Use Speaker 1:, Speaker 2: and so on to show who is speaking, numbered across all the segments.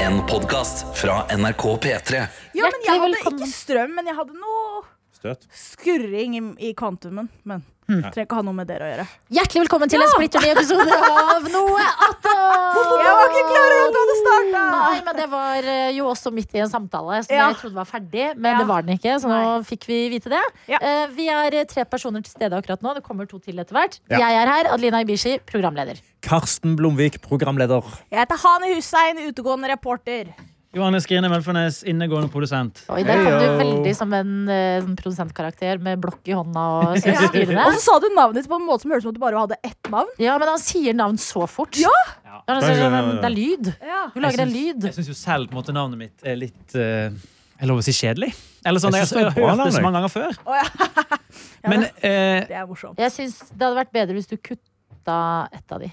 Speaker 1: En podkast fra NRK P3.
Speaker 2: Ja, men jeg
Speaker 3: Hjertelig
Speaker 2: hadde
Speaker 3: velkommen.
Speaker 2: ikke strøm, men jeg hadde noe
Speaker 4: Støt.
Speaker 2: skurring i, i kvantumen. Men trenger ikke ha noe med dere å gjøre.
Speaker 3: Hjertelig velkommen til en splitter ny episode av Noe attåt!
Speaker 2: Jeg var ikke klar over at du hadde starta!
Speaker 3: Nei, men det var eh, jo også midt i en samtale som
Speaker 2: Ja.
Speaker 3: jeg trodde var ferdig. Men
Speaker 2: Ja.
Speaker 3: det var den ikke, så nå
Speaker 2: Nei.
Speaker 3: fikk vi vite det.
Speaker 2: Ja.
Speaker 3: Eh, Vi er eh, tre personer til stede akkurat nå. Det kommer to til etter hvert.
Speaker 4: Ja.
Speaker 3: Jeg er her. Adelina Ibishi, programleder.
Speaker 5: Karsten Blomvik, programleder.
Speaker 2: Jeg heter Hani Hussein, utegående reporter.
Speaker 6: Johannes Grine Velfornes, innegående produsent.
Speaker 3: Oi, der kom
Speaker 4: Heyo.
Speaker 3: du veldig som en eh, sånn produsentkarakter med blokk i hånda og
Speaker 2: Ja.
Speaker 3: synes styrende.
Speaker 2: Og så sa du navnet ditt på en måte som hørtes ut som at du bare hadde ett navn.
Speaker 3: Ja, men han sier navn så fort.
Speaker 2: Ja.
Speaker 6: Ja.
Speaker 3: Ja, Det,
Speaker 4: Ja, ja,
Speaker 3: er,
Speaker 4: ja, ja.
Speaker 3: det er lyd. Du lager en
Speaker 6: Jeg syns-
Speaker 3: lyd.
Speaker 6: Jeg syns jo selv på en måte, navnet mitt er litt eh, Jeg lover å si kjedelig. Eller sånn,
Speaker 4: Jeg
Speaker 6: jeg,
Speaker 4: syns det er
Speaker 6: har
Speaker 4: bra
Speaker 6: hørt det så
Speaker 4: navn,
Speaker 6: mange ganger før.
Speaker 2: Ja,
Speaker 6: Men
Speaker 2: det-
Speaker 6: eh,
Speaker 2: det er morsomt.
Speaker 3: Jeg syns det hadde vært bedre hvis du kutta et av de.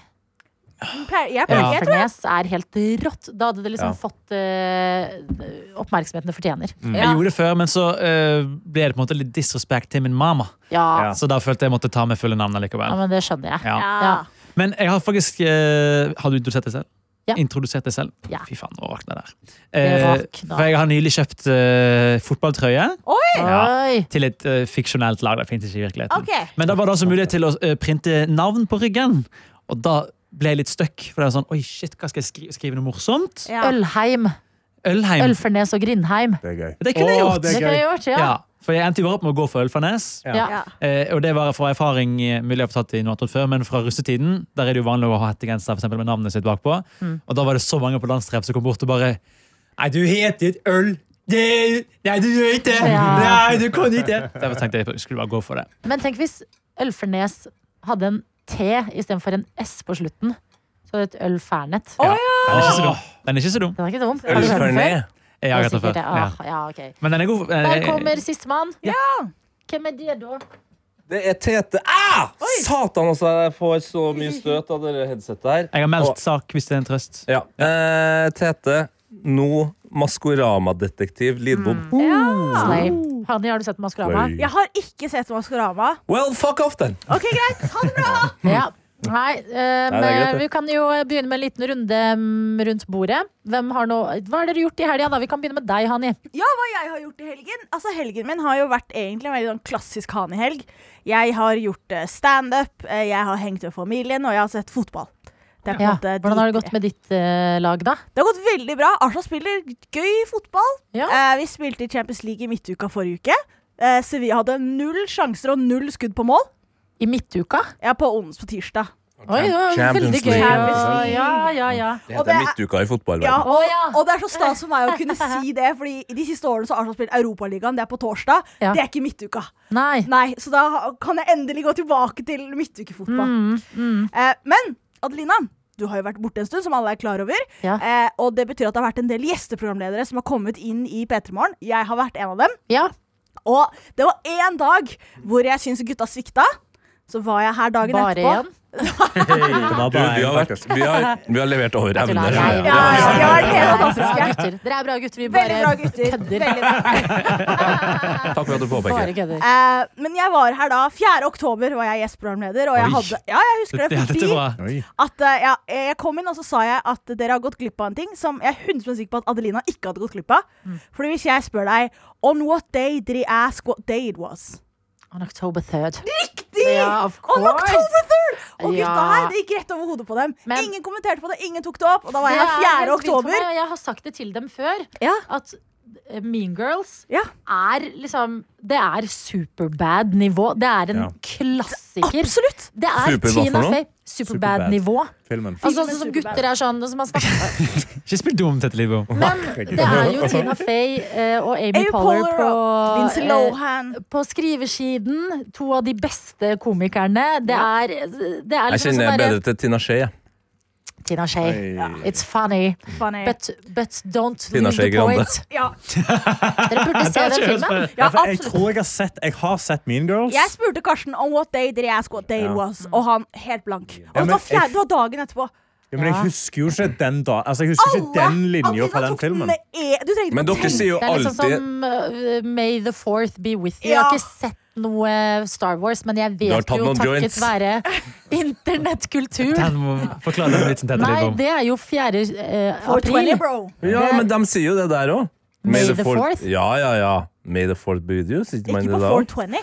Speaker 2: Men pleier- Jeg
Speaker 6: Ja.
Speaker 2: pleier, jeg tror jeg,
Speaker 3: Elfernes er helt rått. Da hadde det liksom
Speaker 4: Ja.
Speaker 3: fått eh, oppmerksomheten det fortjener.
Speaker 4: Mm.
Speaker 6: jeg gjorde det før, men så eh, ble det på en måte litt disrespect til min mamma.
Speaker 3: Ja.
Speaker 4: Ja.
Speaker 3: ja.
Speaker 6: Så da følte jeg jeg måtte ta med fulle navn likevel.
Speaker 3: men det skjønner jeg.
Speaker 6: Ja.
Speaker 3: Ja.
Speaker 6: Men jeg har faktisk eh, Har du introdusert deg selv?
Speaker 3: Ja.
Speaker 6: Introdusert deg selv?
Speaker 3: Ja.
Speaker 6: Fy faen, nå rakna det der. Eh,
Speaker 3: Det rakna.
Speaker 6: for jeg har nylig kjøpt eh, fotballtrøye Ja.
Speaker 3: Oi!
Speaker 6: til et eh, fiksjonelt lag. Det finnes ikke i virkeligheten.
Speaker 2: Ok.
Speaker 6: Men da var det også mulighet til å eh, printe navn på ryggen. Og da ble jeg litt stuck. For det var sånn, oi shit, hva skal jeg skrive, skrive noe morsomt?
Speaker 2: Ja.
Speaker 3: Ølheim.
Speaker 6: Ølheim.
Speaker 3: Ølfernes og Grindheim.
Speaker 4: Det er gøy.
Speaker 6: Det kunne jeg
Speaker 4: Å,
Speaker 6: gjort.
Speaker 4: det
Speaker 3: Det
Speaker 4: er
Speaker 3: kunne jeg
Speaker 4: gøy.
Speaker 3: gjort, ja.
Speaker 6: Ja, for jeg endte jo bare opp med å gå for Ølfarnes.
Speaker 3: ja.
Speaker 2: Ja.
Speaker 6: Eh, og det var fra erfaring eh, mulig jeg har tatt i noe annet før, men fra russetiden. Der er det jo vanlig å ha hettegenser for eksempel, med navnet sitt bakpå.
Speaker 3: Mm.
Speaker 6: Og da var det så mange på landstreff som kom bort og bare Nei, du heter ikke Øl. Det, nei, du gjør ikke det!
Speaker 3: Ja.
Speaker 6: Nei, du kan ikke det! Derfor tenkte jeg jeg skulle bare gå for det.
Speaker 3: Men tenk hvis Ølfernes hadde en T istedenfor en S på slutten. Så hadde det et Ølfernet.
Speaker 2: Å
Speaker 6: Ja.
Speaker 2: ja!
Speaker 6: Den er ikke så dum. Den er ikke
Speaker 3: Den er ikke
Speaker 6: så dum.
Speaker 3: dum. Har du hørt den før?
Speaker 4: Ølfernet.
Speaker 6: Jeg
Speaker 3: Det
Speaker 6: har
Speaker 3: er
Speaker 6: hørt den
Speaker 3: sikkert
Speaker 6: før.
Speaker 3: det.
Speaker 6: Ja.
Speaker 3: Ah, ja, ok.
Speaker 6: Men den er god.
Speaker 3: Der kommer sistemann.
Speaker 2: Ja.
Speaker 3: Hvem er det, da?
Speaker 7: Det er Tete. Ah! Satan, altså. Jeg får så mye støt av det headsetet her.
Speaker 6: Jeg har meldt
Speaker 7: Og-
Speaker 6: sak, hvis det er en trøst.
Speaker 7: Ja. Eh, Tete, nå Maskorama-detektiv Lidbom.
Speaker 2: Mm.
Speaker 3: Slay. Hanni, har du sett Maskorama?
Speaker 4: Slay.
Speaker 2: Jeg har ikke sett Maskorama.
Speaker 7: Well, fuck off, then!
Speaker 2: Ok, greit. Ha det bra!
Speaker 3: Ja. Nei, eh, men
Speaker 7: greit, det.
Speaker 3: vi kan jo eh, begynne med en liten runde mm, rundt bordet. Hvem har nå Hva har dere gjort i helga, da? Vi kan begynne med deg, Hanni.
Speaker 2: Ja, hva jeg har gjort i helgen? Altså, Helgen min har jo vært egentlig en veldig sånn klassisk Hani-helg. Jeg har gjort eh, standup, eh, jeg har hengt med familien, og jeg har sett fotball. Det er på en
Speaker 3: Ja.
Speaker 2: måte de
Speaker 3: Hvordan har det
Speaker 2: tre.
Speaker 3: gått med ditt eh, lag, da?
Speaker 2: Det har gått veldig bra. Arsenal spiller gøy fotball.
Speaker 3: Ja.
Speaker 2: Eh, vi spilte i Champions League i midtuka forrige uke. Eh, Sevilla hadde null sjanser og null skudd på mål.
Speaker 3: I midtuka?
Speaker 2: Ja, på ons på tirsdag.
Speaker 3: Oi, det var
Speaker 4: Champions
Speaker 3: veldig gøy.
Speaker 4: League.
Speaker 3: å- Ja, ja, ja.
Speaker 7: Det
Speaker 2: Og det
Speaker 7: heter
Speaker 2: er-
Speaker 7: midtuka i
Speaker 2: Ja,
Speaker 7: fotballverden.
Speaker 2: og,
Speaker 3: ja.
Speaker 2: og det er så stas for meg å kunne si det, Fordi de siste årene så har Arsenal spilt Europaligaen. Det er på torsdag.
Speaker 3: Ja.
Speaker 2: Det er ikke midtuka.
Speaker 3: Nei.
Speaker 2: Nei, Så da ha- kan jeg endelig gå tilbake til midtukefotball.
Speaker 3: Mm, mm.
Speaker 2: Eh, men Adelina, du har jo vært borte en stund, som alle er klar over.
Speaker 3: Ja.
Speaker 2: Eh, og det betyr at det har vært en del gjesteprogramledere som har kommet inn i P3 Morgen. Jeg har vært en av dem.
Speaker 3: ja.
Speaker 2: Og det var én dag hvor jeg syns gutta svikta. Så var jeg her dagen
Speaker 3: Bare
Speaker 2: etterpå.
Speaker 3: igjen?
Speaker 4: Det var
Speaker 7: Du,
Speaker 4: bare
Speaker 7: vi, har
Speaker 4: en,
Speaker 7: vært,
Speaker 4: faktisk.
Speaker 7: vi, har, vi har levert over
Speaker 3: Jeg tuller.
Speaker 7: evne.
Speaker 2: Ja,
Speaker 3: Nei,
Speaker 2: ja,
Speaker 3: vi
Speaker 2: ja,
Speaker 3: har-
Speaker 2: det er helt fantastisk.
Speaker 3: Bra gutter. Dere er bra gutter. Vi
Speaker 2: Veldig bra
Speaker 3: bare
Speaker 2: gutter.
Speaker 3: kødder.
Speaker 2: Veldig bra.
Speaker 7: Takk for at du
Speaker 3: Bare
Speaker 7: påpeker.
Speaker 3: kødder.
Speaker 2: Eh, men jeg var her da. 4. oktober var jeg gjestprogramleder, og jeg
Speaker 6: Oi.
Speaker 2: hadde Ja, jeg husker det
Speaker 6: Dette, dette
Speaker 2: fordi
Speaker 6: er bra.
Speaker 4: Oi.
Speaker 2: at eh, ja, jeg kom inn og så sa jeg at dere har gått glipp av en ting som jeg er 100 sikker på at Adelina ikke hadde gått glipp av.
Speaker 3: Mm.
Speaker 2: Fordi hvis jeg spør deg On what day did I ask what day it was?
Speaker 3: On October 3rd.
Speaker 2: Riktig!
Speaker 3: Ja, of
Speaker 2: On October 3rd! Og
Speaker 3: Ja.
Speaker 2: gutta her, det gikk rett over hodet på dem.
Speaker 3: Men-
Speaker 2: ingen kommenterte på det, ingen tok det opp. Og da var
Speaker 3: Det
Speaker 2: jeg
Speaker 3: er
Speaker 2: her 4.
Speaker 3: helt vilt for
Speaker 2: oktober.
Speaker 3: meg. Jeg har sagt det til dem før.
Speaker 2: Ja.
Speaker 3: At eh, Mean Girls
Speaker 2: Ja.
Speaker 3: er liksom Det er superbad-nivå. Det er en
Speaker 4: Ja.
Speaker 3: klassiker.
Speaker 2: Absolutt!
Speaker 3: Det er
Speaker 7: Super hva for
Speaker 3: Tina
Speaker 7: noe?
Speaker 3: Fey. Superbad-nivå.
Speaker 4: Filmen.
Speaker 3: Altså,
Speaker 2: Filmen
Speaker 3: sånn som
Speaker 2: Superbad.
Speaker 3: gutter er sånn som man snakker.
Speaker 6: Ikke spill dum, Tete Lidbom.
Speaker 3: Men det er jo Tina Fey eh, og Amy
Speaker 2: Amy
Speaker 3: Poller
Speaker 2: Poehler
Speaker 3: på
Speaker 2: og Lindsay
Speaker 3: eh,
Speaker 2: Lohan.
Speaker 3: på skrivesiden, to av de beste komikerne. Det er, det er
Speaker 7: Jeg
Speaker 3: liksom sånn
Speaker 7: kjenner
Speaker 3: derre-
Speaker 7: bedre til Tina Skei. jeg.
Speaker 3: Tina Shey.
Speaker 4: Oi.
Speaker 3: It's funny,
Speaker 2: Funny.
Speaker 3: but, but don't
Speaker 7: Tina
Speaker 3: lose the
Speaker 7: Shey Grande.
Speaker 3: point.
Speaker 2: Ja.
Speaker 3: Dere burde se den filmen.
Speaker 2: Ja,
Speaker 4: For jeg
Speaker 2: absolutt.
Speaker 4: tror jeg har sett Jeg har sett Mean Girls.
Speaker 2: Jeg spurte Karsten om what day did I ask what day it
Speaker 4: Ja.
Speaker 2: was, og han helt blank. Og
Speaker 4: Ja,
Speaker 2: det,
Speaker 4: men
Speaker 2: var fjerde,
Speaker 4: jeg-
Speaker 2: det var dagen etterpå.
Speaker 4: Ja, men jeg husker jo ikke den da Altså, jeg husker ikke den linja fra den
Speaker 2: tok den
Speaker 4: filmen.
Speaker 2: med E. Du trengte
Speaker 7: Men
Speaker 2: ikke å tenke.
Speaker 7: dere sier jo
Speaker 3: Det er liksom
Speaker 7: alltid
Speaker 3: som uh, May the fourth be with you. Jeg
Speaker 2: Ja.
Speaker 3: har ikke sett noe Star Wars, men jeg
Speaker 7: har
Speaker 3: vet
Speaker 7: tatt
Speaker 3: jo
Speaker 7: noen
Speaker 3: takket
Speaker 7: joints.
Speaker 3: være internettkultur
Speaker 6: Den må forklare den vitsen til
Speaker 3: Nei,
Speaker 6: deg om.
Speaker 3: det er jo 4. eh,
Speaker 2: 420,
Speaker 3: april.
Speaker 2: bro.
Speaker 7: Ja, men de sier jo det der òg.
Speaker 3: May the fourth.
Speaker 7: Ja, ja, ja. May the fourth be with you. sier man
Speaker 2: Ikke på
Speaker 7: det da også?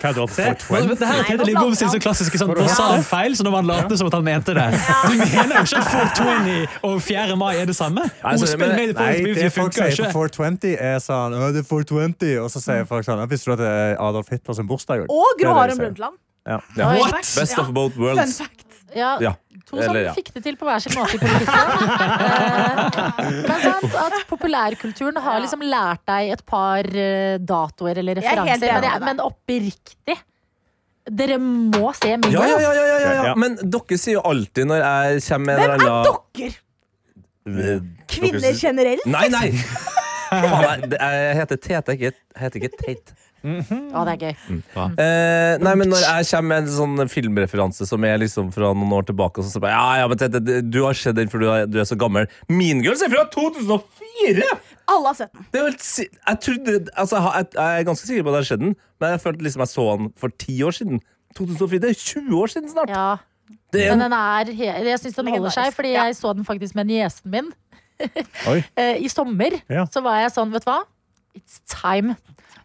Speaker 2: 420.
Speaker 4: Hva er det opp til?
Speaker 6: Men, men det her er Teddy Lidbom sin så klassiske sånn, Nå sa han feil, så nå må han late som at han mente det. Du mener jo ikke at 420 og 4. mai er det samme?
Speaker 7: så-
Speaker 6: Ordspill
Speaker 7: altså, men-
Speaker 6: made for
Speaker 4: Nei,
Speaker 6: Beef,
Speaker 4: det
Speaker 6: det
Speaker 4: folk
Speaker 6: funker
Speaker 4: sier på
Speaker 6: ikke.
Speaker 4: 420, er sånn «Å, det er 420, og så sier folk sånn «Ja, Visste du at det er
Speaker 7: eh,
Speaker 4: Adolf Hitler sin bursdag? i dag?»
Speaker 2: Og
Speaker 4: Det
Speaker 2: Gro
Speaker 4: er det
Speaker 2: Harlem
Speaker 4: de sier.
Speaker 2: Brundtland.
Speaker 7: Ja.
Speaker 3: Oi.
Speaker 2: What?
Speaker 7: Best
Speaker 2: Ja.
Speaker 7: of both
Speaker 2: Fun
Speaker 7: worlds.
Speaker 2: fact.
Speaker 3: Ja,
Speaker 7: Ja.
Speaker 3: To som
Speaker 7: Eller, ja.
Speaker 3: fikk det til på hver sin måte i politikken. Eh, Men sant at populærkulturen har liksom lært deg et par eh, datoer eller
Speaker 2: Jeg er helt
Speaker 3: referanser. Men,
Speaker 2: enig
Speaker 3: jeg-
Speaker 2: med deg.
Speaker 3: men oppriktig Dere må se Mean
Speaker 7: Ja, ja,
Speaker 3: Girls.
Speaker 7: ja, ja, ja, ja,
Speaker 4: Ja.
Speaker 7: ja. Men dere sier jo alltid når jeg kommer med
Speaker 2: Hvem
Speaker 7: en
Speaker 2: er
Speaker 7: eller
Speaker 2: dere?
Speaker 7: annen
Speaker 2: Kvinner generelt?
Speaker 7: Eh, Nei, nei! Faen, jeg, jeg heter Tete, ikke, jeg heter ikke Tate.
Speaker 3: Å, det er gøy.
Speaker 7: Mm. Eh, nei, men når jeg kommer med en sånn filmreferanse som er liksom fra noen år tilbake, og så sier jeg, ja, ja, men Tete, du har sett den, for du er, du er så gammel. Mean Girls er fra 2004!
Speaker 2: Alle har sett den.
Speaker 7: Det er jo helt si jeg, trodde, altså, jeg, har- jeg, jeg er ganske sikker på at det har skjedd den, men jeg følte liksom jeg så den for ti år siden. 2004, Det er 20 år siden snart!
Speaker 3: Ja.
Speaker 7: Det er
Speaker 3: Men
Speaker 7: en,
Speaker 3: den er, he- jeg syns den holder seg, fordi jeg så den faktisk med niesen min
Speaker 4: Oi.
Speaker 3: Eh, i sommer.
Speaker 4: Ja.
Speaker 3: Så var jeg sånn, vet du hva? It's time.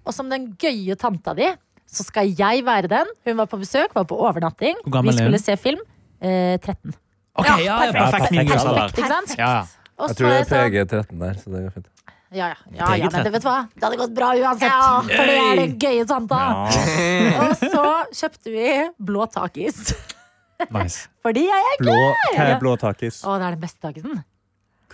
Speaker 3: Og som den gøye tanta di, så skal jeg være den. Hun var på besøk, var på overnatting.
Speaker 6: Hvor gammel
Speaker 3: Vi
Speaker 6: er hun?
Speaker 3: skulle se film. Eh, 13.
Speaker 6: Ok, ja, ja, perfekt.
Speaker 4: perfekt.
Speaker 6: Perfekt.
Speaker 3: Perfekt, ikke sant?
Speaker 6: Ja, ja.
Speaker 3: Og
Speaker 7: jeg
Speaker 3: så
Speaker 7: tror
Speaker 3: var jeg
Speaker 7: det er
Speaker 3: sånn,
Speaker 7: PG-13 der. Så det går fint.
Speaker 3: ja, ja, ja, ja, men det, vet du hva? Det hadde gått bra uansett. For det er den gøye tanta. Og så kjøpte vi blå takis.
Speaker 6: Nice.
Speaker 3: Fordi jeg er
Speaker 4: Blå, hva er blå takis?
Speaker 3: Å, det er den beste takisen.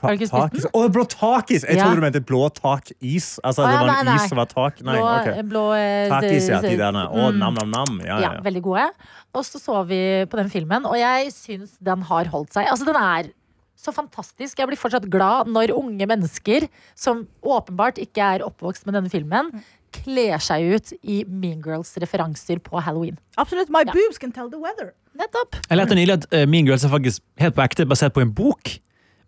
Speaker 4: Ka-
Speaker 3: Har du ikke spist
Speaker 4: takis? Å, blå takis! Jeg
Speaker 3: Ja.
Speaker 4: trodde du mente blå takis. Altså,
Speaker 3: Å,
Speaker 4: det
Speaker 3: ja,
Speaker 4: var
Speaker 3: nei,
Speaker 4: en
Speaker 3: nei.
Speaker 4: is som var tak... Nei,
Speaker 3: blå,
Speaker 4: ok.
Speaker 3: blå eh,
Speaker 4: Takis, ja. De
Speaker 3: eh,
Speaker 4: derne. Å, nam, nam, nam.
Speaker 3: ja,
Speaker 4: Ja, ja, ja.
Speaker 3: veldig gode. Og så så vi på den filmen, og jeg syns den har holdt seg. Altså, den er så fantastisk. Jeg blir fortsatt glad når unge mennesker, som åpenbart ikke er oppvokst med denne filmen, kler seg ut i Mean Girls referanser på halloween.
Speaker 2: Absolutt. My
Speaker 3: Ja.
Speaker 2: boobs can tell the weather.
Speaker 3: Nettopp!
Speaker 6: Jeg lærte nylig at eh, Mean Girls er faktisk helt på ekte basert på en bok.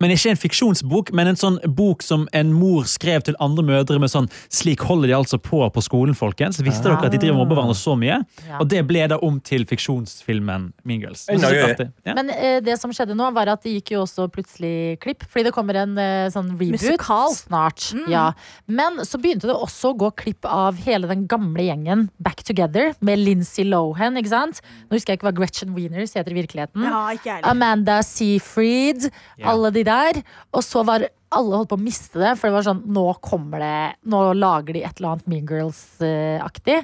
Speaker 6: Men ikke en fiksjonsbok, men en sånn bok som en mor skrev til andre mødre med sånn Slik holder de altså på på skolen, folkens. Visste dere at de driver og mobber hverandre så mye?
Speaker 3: Ja.
Speaker 6: Og det ble da om til fiksjonsfilmen Mean Girls.
Speaker 7: Enda
Speaker 6: Så
Speaker 7: gøy.
Speaker 6: artig. Ja.
Speaker 3: Men eh, det som skjedde nå, var at det gikk jo også plutselig klipp. Fordi det kommer en eh, sånn reboot
Speaker 2: Musikal. Mm.
Speaker 3: snart. Ja. Men så begynte det også å gå klipp av hele den gamle gjengen Back Together med Lindsay Lohan. ikke sant? Nå husker jeg ikke hva Gretchen Wieners heter i virkeligheten.
Speaker 2: Ja, ikke jeg heller.
Speaker 3: Amanda Seafried,
Speaker 6: Ja.
Speaker 3: alle de der. Og så var alle holdt på å miste det, for det var sånn Nå kommer det Nå lager de et eller annet Mean Girls-aktig.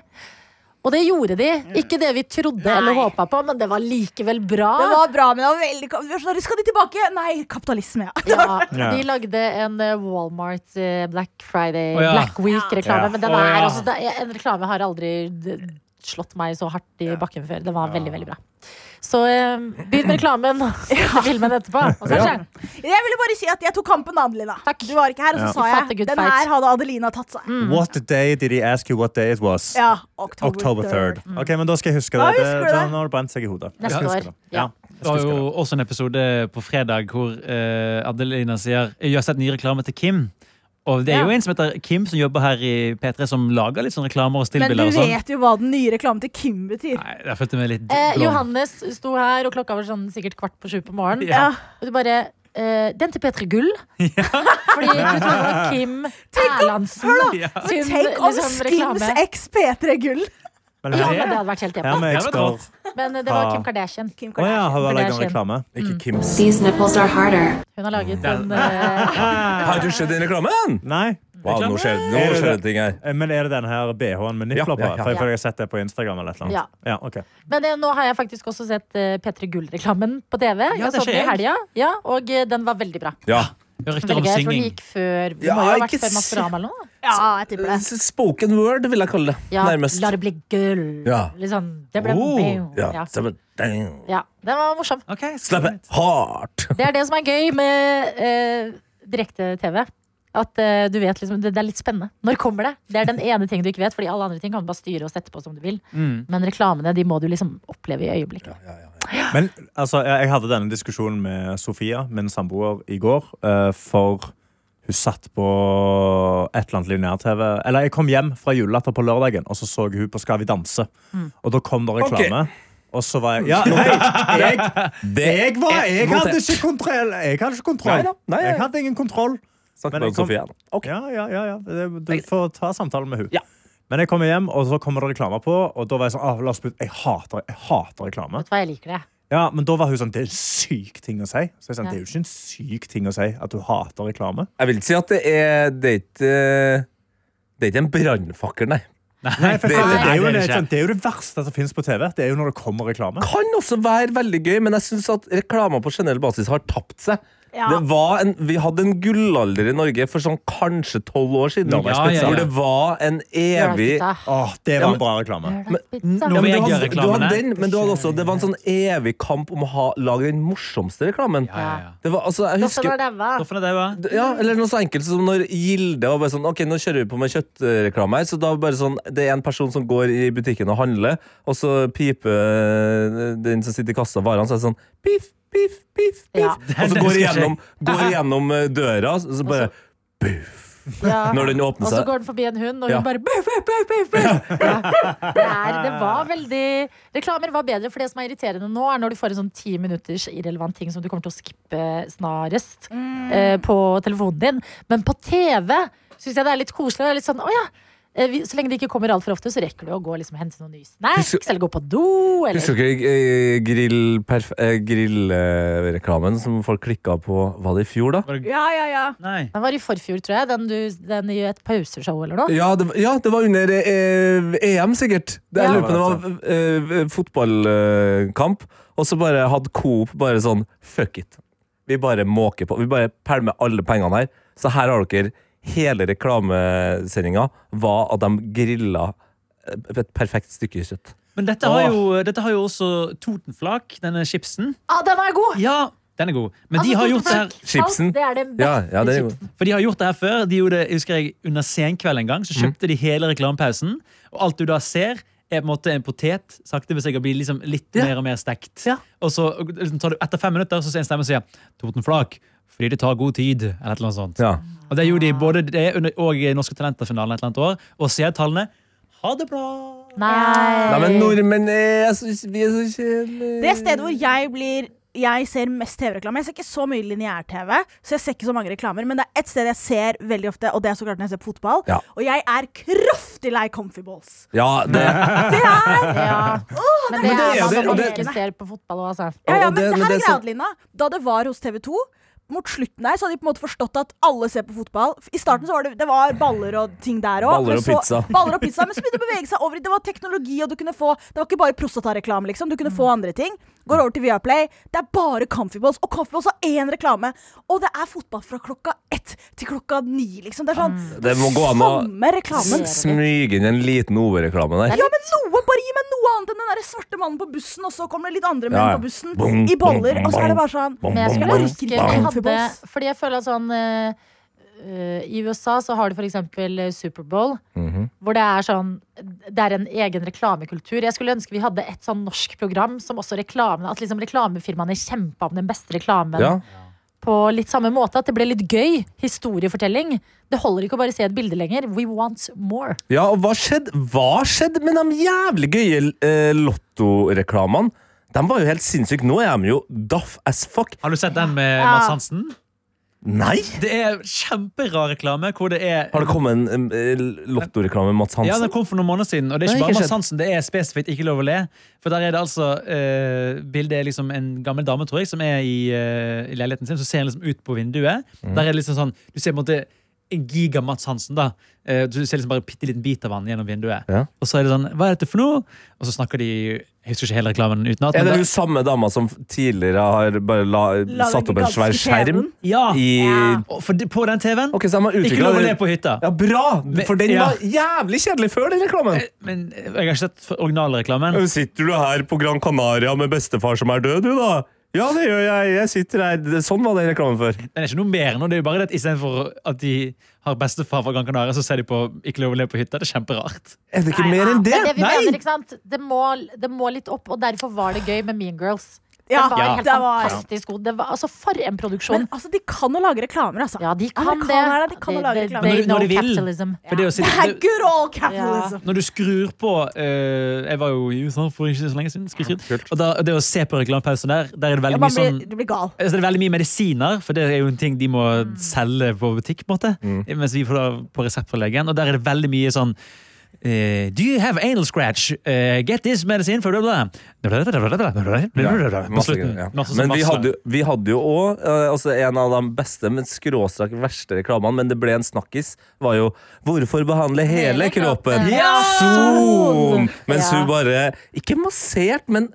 Speaker 3: Og det gjorde de. Ikke det vi trodde eller
Speaker 2: Mm. Nei.
Speaker 3: håpa på, men det var likevel bra.
Speaker 2: Det var bra, men det var veldig kap- Når Skal de tilbake? Nei, kapitalisme, ja.
Speaker 3: Ja,
Speaker 4: Ja.
Speaker 3: De lagde en eh, Walmart eh, Black Friday,
Speaker 6: Å, ja.
Speaker 3: Black Week-reklame.
Speaker 4: Ja.
Speaker 3: Men den
Speaker 6: Å,
Speaker 3: er
Speaker 6: ja.
Speaker 3: altså, det er- En reklame har aldri d- slått meg så hardt i bakken før. Den var veldig, veldig bra. Så eh, begynn med reklamen og så filmen etterpå. Og så
Speaker 4: Ja.
Speaker 3: skjer den.
Speaker 2: Jeg ville bare si at jeg tok kampen, Adelina.
Speaker 3: Takk.
Speaker 2: Du var ikke her, og så
Speaker 4: Ja.
Speaker 2: sa
Speaker 3: Fatte
Speaker 2: jeg
Speaker 3: good
Speaker 2: den
Speaker 3: fight."
Speaker 2: her hadde Adelina tatt seg.
Speaker 7: Mm.
Speaker 4: What day did he ask you what day it was?
Speaker 2: Ja, October,
Speaker 4: October 3rd.
Speaker 2: 3rd.
Speaker 4: Ok, men da skal jeg huske
Speaker 2: Da
Speaker 4: det. det,
Speaker 2: husker du
Speaker 4: da,
Speaker 2: det.
Speaker 4: nå har det brent seg i hodet. Jeg
Speaker 3: Neste
Speaker 4: skal huske
Speaker 3: år.
Speaker 4: det.
Speaker 3: Ja.
Speaker 6: Det var jo også en episode på fredag hvor eh, Adelina sier Jeg har sett ny reklame til Kim. Og det er jo en som heter Kim, som jobber her i P3, som lager litt sånne reklamer
Speaker 2: Men
Speaker 6: og
Speaker 2: du
Speaker 6: stillbilder. og sånn.
Speaker 2: vet jo hva den nye reklamen til Kim betyr.
Speaker 6: Nei, jeg følte meg litt
Speaker 3: Eh,
Speaker 6: blond.
Speaker 3: Johannes sto her, og klokka var sånn sikkert kvart på sju på morgenen.
Speaker 2: Ja.
Speaker 3: Og du bare eh, Den til P3 Gull? Fordi du trodde Kim Erlandsen
Speaker 6: Ja.
Speaker 3: sin
Speaker 2: Take on
Speaker 3: liksom,
Speaker 2: Skims
Speaker 3: reklame.
Speaker 2: X P3 Gull.
Speaker 4: Men
Speaker 3: Ja,
Speaker 4: her,
Speaker 3: men det hadde vært helt episk.
Speaker 4: her med
Speaker 6: Det var
Speaker 4: ekspert.
Speaker 6: godt.
Speaker 3: Men eh, det var
Speaker 4: Ah.
Speaker 3: Kim Kardashian.
Speaker 2: Kim
Speaker 4: Å ja,
Speaker 2: Kardashian.
Speaker 4: har du laget en
Speaker 3: Kardashian.
Speaker 4: reklame?
Speaker 7: Ikke Kims.
Speaker 8: These nipples are harder.
Speaker 3: Hun har laget
Speaker 6: Ja.
Speaker 3: en eh,
Speaker 7: Har du sett den reklamen?
Speaker 4: Nei.
Speaker 7: Wow, nå skjer, nå skjer det ting her.
Speaker 4: Eh, Men er det den her BH-en med nipler på?
Speaker 7: Ja, ja, ja.
Speaker 4: For jeg føler jeg har sett det på Instagram eller et eller
Speaker 3: Ja.
Speaker 4: annet. Ja, ok.
Speaker 3: Men eh, nå har jeg faktisk også sett eh, P3 Gull-reklamen på TV.
Speaker 6: Ja,
Speaker 3: jeg
Speaker 6: det
Speaker 3: så den i
Speaker 6: skjer.
Speaker 3: helga, ja, og eh, den var veldig bra.
Speaker 7: Ja.
Speaker 6: Det er Rykter
Speaker 3: Veldig
Speaker 6: om
Speaker 3: gøy, for den
Speaker 6: synging.
Speaker 3: gikk før Vi
Speaker 7: Ja,
Speaker 3: må jo ha vært
Speaker 7: ikke
Speaker 3: før Maskorama eller noe. da.
Speaker 2: Ja, jeg tipper det.
Speaker 7: Spoken word, vil jeg kalle det.
Speaker 3: Ja,
Speaker 7: Nærmest.
Speaker 3: La det bli gull.
Speaker 7: Ja.
Speaker 3: Litt sånn det ble
Speaker 6: Oh,
Speaker 3: ja.
Speaker 7: Ja.
Speaker 3: Ja.
Speaker 7: sammen. Dang.
Speaker 3: Den var morsom.
Speaker 6: Ok,
Speaker 7: Slappe hardt.
Speaker 3: Det er det som er gøy med eh, direkte-TV. At eh, du vet liksom, det, det er litt spennende. Når kommer det? Det er den ene ting du ikke vet, fordi alle andre ting kan du bare styre og sette på som du vil.
Speaker 6: Mm.
Speaker 3: Men reklamene de må du liksom oppleve i øyeblikket.
Speaker 4: Men altså, jeg jeg hadde denne diskusjonen med Sofia, min samboer, i går. eh, For Hun satt på et eller annet lineær-TV. Eller jeg kom hjem fra julelatter på lørdagen, og så så jeg hun på Skal vi danse.
Speaker 7: Mm.
Speaker 4: Og da kom det reklame. Og så var jeg Ja, nei! Jeg, jeg, var, jeg hadde ikke kontroll! Jeg hadde
Speaker 7: Nei
Speaker 4: ikke kontroll.
Speaker 7: da, nei,
Speaker 4: Jeg
Speaker 7: ja.
Speaker 4: hadde ingen kontroll.
Speaker 7: Snakk
Speaker 4: Men
Speaker 7: med
Speaker 4: jeg kom-
Speaker 7: Sofia. da. Ok.
Speaker 4: Ja, ja, ja, ja. Det- Du får ta samtalen med hun.
Speaker 7: Ja.
Speaker 4: Men jeg kommer hjem, og så kommer det reklame på. Og da var jeg sånn, ah, la oss bytte. Jeg hater, jeg hater reklame.
Speaker 3: Vet du hva, jeg liker det.
Speaker 4: Ja, Men da var hun sånn, det er en syk ting å si. Så jeg sånn,
Speaker 3: Ja.
Speaker 4: Det er jo ikke en syk ting å si at du hater reklame.
Speaker 7: Jeg vil si at det er Det er ikke eh, det er ikke en brannfakkel, nei.
Speaker 4: Nei, for
Speaker 7: det-
Speaker 4: faen, det,
Speaker 6: nei,
Speaker 4: er
Speaker 6: det
Speaker 4: jo,
Speaker 6: er
Speaker 4: en-
Speaker 6: det ikke.
Speaker 4: sånn, det er jo det verste som finnes på TV. Det er jo når det kommer reklame.
Speaker 7: Kan også være veldig gøy, men jeg syns at reklamer på generell basis har tapt seg.
Speaker 2: Ja.
Speaker 7: Det var en, vi hadde en gullalder i Norge for sånn kanskje tolv år siden,
Speaker 6: Ja, ja, ja.
Speaker 7: hvor det var en evig
Speaker 3: Lørdagspizza.
Speaker 4: Åh, det var en bra reklame.
Speaker 3: Lørdagspizza.
Speaker 6: Nå
Speaker 7: Ja, men du
Speaker 6: Norvegia-
Speaker 7: hadde, du hadde
Speaker 6: reklamene.
Speaker 7: den, men du hadde også, det var en sånn evig kamp om å ha, lage den morsomste reklamen.
Speaker 6: Ja, ja, ja.
Speaker 7: Det var, altså, jeg
Speaker 3: Doffen
Speaker 7: husker,
Speaker 3: har daua.
Speaker 6: Hvorfor er det det, hva?
Speaker 7: D- Ja, eller noe så enkelt som når Gilde var bare sånn Ok, nå kjører vi på med kjøttreklame her. Så da bare sånn Det er en person som går i butikken og handler, og så piper eh, den som sitter i kassa varene, så er det sånn Piff, piff, piff, piff.
Speaker 3: Ja.
Speaker 7: Og så
Speaker 6: Det
Speaker 7: går
Speaker 6: skal
Speaker 7: igjennom, går igjennom eh, døra, så så bare
Speaker 3: Ja.
Speaker 7: Når den åpner
Speaker 3: Og så
Speaker 7: seg.
Speaker 3: går den forbi en hund, og hun
Speaker 7: Ja.
Speaker 3: bare buff, buff, buff, buff, buff. Ja. Det, er, det var veldig Reklamer var bedre, for det som er irriterende nå, er når du får en sånn ti minutters irrelevant ting som du kommer til å skippe snarest eh, på telefonen din. Men på TV syns jeg det er litt koselig. Det er litt sånn, å ja eh, vi, så lenge det ikke kommer altfor ofte, så rekker du å gå og liksom, hente noen nye snacks, eller gå på do. Eller.
Speaker 7: Husker dere eh, grill- perf- eh, grillreklamen som folk klikka på Var det i fjor, da?
Speaker 2: Ja, ja, ja.
Speaker 6: Nei.
Speaker 3: Den var i forfjor, tror jeg. Den, du, den i et pauseshow eller noe.
Speaker 7: Ja, det, var- ja, det var under eh, EM, sikkert. Det, jeg
Speaker 3: Ja.
Speaker 7: lurer på, om det var eh, fotballkamp, og så bare hadde Coop bare sånn Fuck it. Vi bare måker på. Vi bare pælmer alle pengene her. Så her har dere Hele reklamesendinga var at de grilla et perfekt stykke kjøtt.
Speaker 6: Men dette har, jo, dette har jo også Totenflak, denne chipsen.
Speaker 3: Ah, den er god!
Speaker 6: Ja, den er god. Men de
Speaker 3: Altså,
Speaker 6: har gjort det her
Speaker 3: Totenflak
Speaker 7: Chipsen.
Speaker 3: Salt, Det er det beste
Speaker 7: Ja, ja, det er jo-
Speaker 3: chipsen.
Speaker 6: For de har gjort det her før. De gjorde det, jeg husker jeg, Under senkveld en gang så kjøpte de hele reklamepausen. Og alt du da ser, er på en måte en potet sakte men sikkert blir liksom litt mer og mer stekt. Og så og liksom, tar du etter fem minutter så ser en stemme som sier Toten Flak, fordi det tar god tid. Eller et eller annet sånt.
Speaker 7: Ja.
Speaker 6: Og det gjorde de både det under, og i Norske Talenter-finalen et eller annet år. Og seertallene Ha det bra!
Speaker 3: Nei.
Speaker 7: Nei, men nordmenn eh, jeg synes Vi er så kjedelige.
Speaker 2: Det stedet hvor jeg blir jeg ser mest TV-reklame. Jeg ser ikke så mye lineær-TV, så jeg ser ikke så mange reklamer. Men det er ett sted jeg ser veldig ofte, og det er så klart når jeg ser på fotball.
Speaker 7: Ja.
Speaker 2: Og jeg er kraftig lei comfy balls.
Speaker 7: Ja, det,
Speaker 3: Ja. Men det
Speaker 7: men det
Speaker 3: er
Speaker 7: er det,
Speaker 3: man
Speaker 7: og
Speaker 3: som
Speaker 7: det-
Speaker 3: ikke ser på fotball òg, altså.
Speaker 2: Ja, ja,
Speaker 7: og
Speaker 2: men det,
Speaker 7: men
Speaker 2: her er
Speaker 7: det som-
Speaker 2: greia, Adelina. Da det var hos TV 2 mot slutten der, så hadde de på en måte forstått at alle ser på fotball. I starten så var det, det var baller og ting der òg.
Speaker 7: Baller og pizza.
Speaker 2: Baller og pizza, Men så begynte det å bevege seg over i Det var teknologi, og du kunne få Det var ikke bare prostatareklame, liksom. Du kunne
Speaker 7: Mm.
Speaker 2: få andre ting. Går over til Viaplay. Det er bare Comfyballs. Og Comfyballs har én reklame. Og det er fotball fra klokka ett til klokka ni, liksom. Det er sånn
Speaker 7: Mm. Det må gå an å
Speaker 2: samme reklamen.
Speaker 7: smyge inn en liten OB-reklame der.
Speaker 2: Ja, men noe, Bare gi meg noe annet enn den der svarte mannen på bussen, og så kommer det litt andre menn
Speaker 7: Ja, ja.
Speaker 2: på bussen
Speaker 7: Bong,
Speaker 2: i boller, og så er det bare sånn
Speaker 7: Bom,
Speaker 3: Men jeg
Speaker 7: bom,
Speaker 3: skulle
Speaker 7: bom,
Speaker 3: ønske vi
Speaker 7: bom.
Speaker 3: hadde Fordi jeg føler at sånn eh, eh, I USA så har du for eksempel eh, Superbowl,
Speaker 7: Mhm.
Speaker 3: hvor det er sånn Det er en egen reklamekultur. Jeg skulle ønske vi hadde et sånn norsk program som også reklamene At liksom reklamefirmaene kjempa om den beste reklamen.
Speaker 7: Ja.
Speaker 3: På litt samme måte At det ble litt gøy historiefortelling. Det holder ikke å bare se et bilde lenger. We want more.
Speaker 7: Ja, og hva skjedde Hva skjedde med de jævlig gøye eh, lottoreklamene? De var jo helt sinnssyke. Nå er de jo daff as fuck.
Speaker 6: Har du sett den med Mads Hansen?
Speaker 7: Nei!
Speaker 6: Det er kjemperar reklame hvor det er
Speaker 7: Har det kommet en eh, lottoreklame med Mats
Speaker 6: Ja,
Speaker 7: Hansen?
Speaker 6: den kom for noen måneder siden. Og det er
Speaker 7: Nei,
Speaker 6: ikke bare
Speaker 7: ikke
Speaker 6: Mads
Speaker 7: skjedd.
Speaker 6: Hansen, det er spesifikt ikke lov å le. For der er det altså eh, Bildet er liksom en gammel dame, tror jeg, som er i, eh, i leiligheten sin. Så ser hun liksom ut på vinduet.
Speaker 7: Mm.
Speaker 6: Der er det liksom sånn Du ser på en måte en giga Mats Hansen, da. Eh, du ser liksom bare en bitte liten bit av han gjennom vinduet.
Speaker 7: Ja.
Speaker 6: Og så er det sånn Hva er dette for noe? Og så snakker de Jeg husker ikke hele reklamen utenat.
Speaker 7: er
Speaker 6: men
Speaker 7: det
Speaker 6: da-
Speaker 7: hun samme dama som tidligere har bare la,
Speaker 2: Lager
Speaker 7: satt opp en svær
Speaker 2: gigantiske TV-en.
Speaker 7: skjerm?
Speaker 6: Ah, Ja!
Speaker 7: I
Speaker 6: Og For, de- på den TV-en.
Speaker 7: Ok, så de har
Speaker 6: ikke lov å le
Speaker 7: utvikla
Speaker 6: på hytta.
Speaker 7: Ja, bra! For den
Speaker 6: ja.
Speaker 7: var jævlig kjedelig før, den reklamen.
Speaker 6: Men eh, jeg har ikke sett originalreklamen.
Speaker 7: Eh, Sitter du her på Gran Canaria med bestefar som er død, du, da? Ja, det gjør jeg. Jeg sitter her. Sånn var den reklamen før.
Speaker 6: Den er ikke noe mer nå. Det er jo bare det at Istedenfor at de har bestefar fra Gran Canaria, så ser de på Ikke lov å le på hytta. Det er kjemperart.
Speaker 7: Er det ikke mer enn det?
Speaker 3: Det er det vi mener, ikke sant? Det må, det må litt opp, og derfor var det gøy med Mean Girls.
Speaker 2: Ja,
Speaker 3: den var
Speaker 6: Ja.
Speaker 3: helt
Speaker 2: det var-
Speaker 3: fantastisk god. Det var, altså, for en produksjon.
Speaker 2: Men altså, de kan å lage reklamer, altså.
Speaker 3: ja, de kan det.
Speaker 2: Amerikanerne, de kan å lage reklame.
Speaker 3: they
Speaker 6: Når de- når
Speaker 3: know
Speaker 6: de vil.
Speaker 3: capitalism.
Speaker 6: For det å
Speaker 2: Det
Speaker 6: sitte-
Speaker 2: er good old liksom. capitalism.
Speaker 6: Når du skrur på eh, Jeg var jo i USA for ikke så lenge siden. skrur skrur. og da, og det å se på reklamepausen der, der er det
Speaker 2: Ja,
Speaker 6: veldig
Speaker 2: man blir,
Speaker 6: mye sånn
Speaker 2: du blir gal.
Speaker 6: altså, det er veldig mye medisiner, for det er jo en ting de må
Speaker 7: Mm.
Speaker 6: selge på butikk. på en måte Mens vi får da på resept fra legen. Og der er det veldig mye sånn eh, do you have anal scratch? Eh, get this medicine for blah, blah, blah, blah, blah, blah, blah, blah, blah, blah. På
Speaker 7: Masse
Speaker 6: slutten.
Speaker 7: greier, ja.
Speaker 6: Masse sånn
Speaker 7: Men vi
Speaker 6: masse-
Speaker 7: hadde, jo- vi hadde jo òg altså en av de beste, men skråstrek verste reklamene, men det ble en snakkis, var jo 'Hvorfor behandle hele,
Speaker 3: Hele kroppen.
Speaker 7: kroppen?'
Speaker 3: Ja!
Speaker 7: Son! Mens
Speaker 3: Ja.
Speaker 7: hun bare Ikke massert, men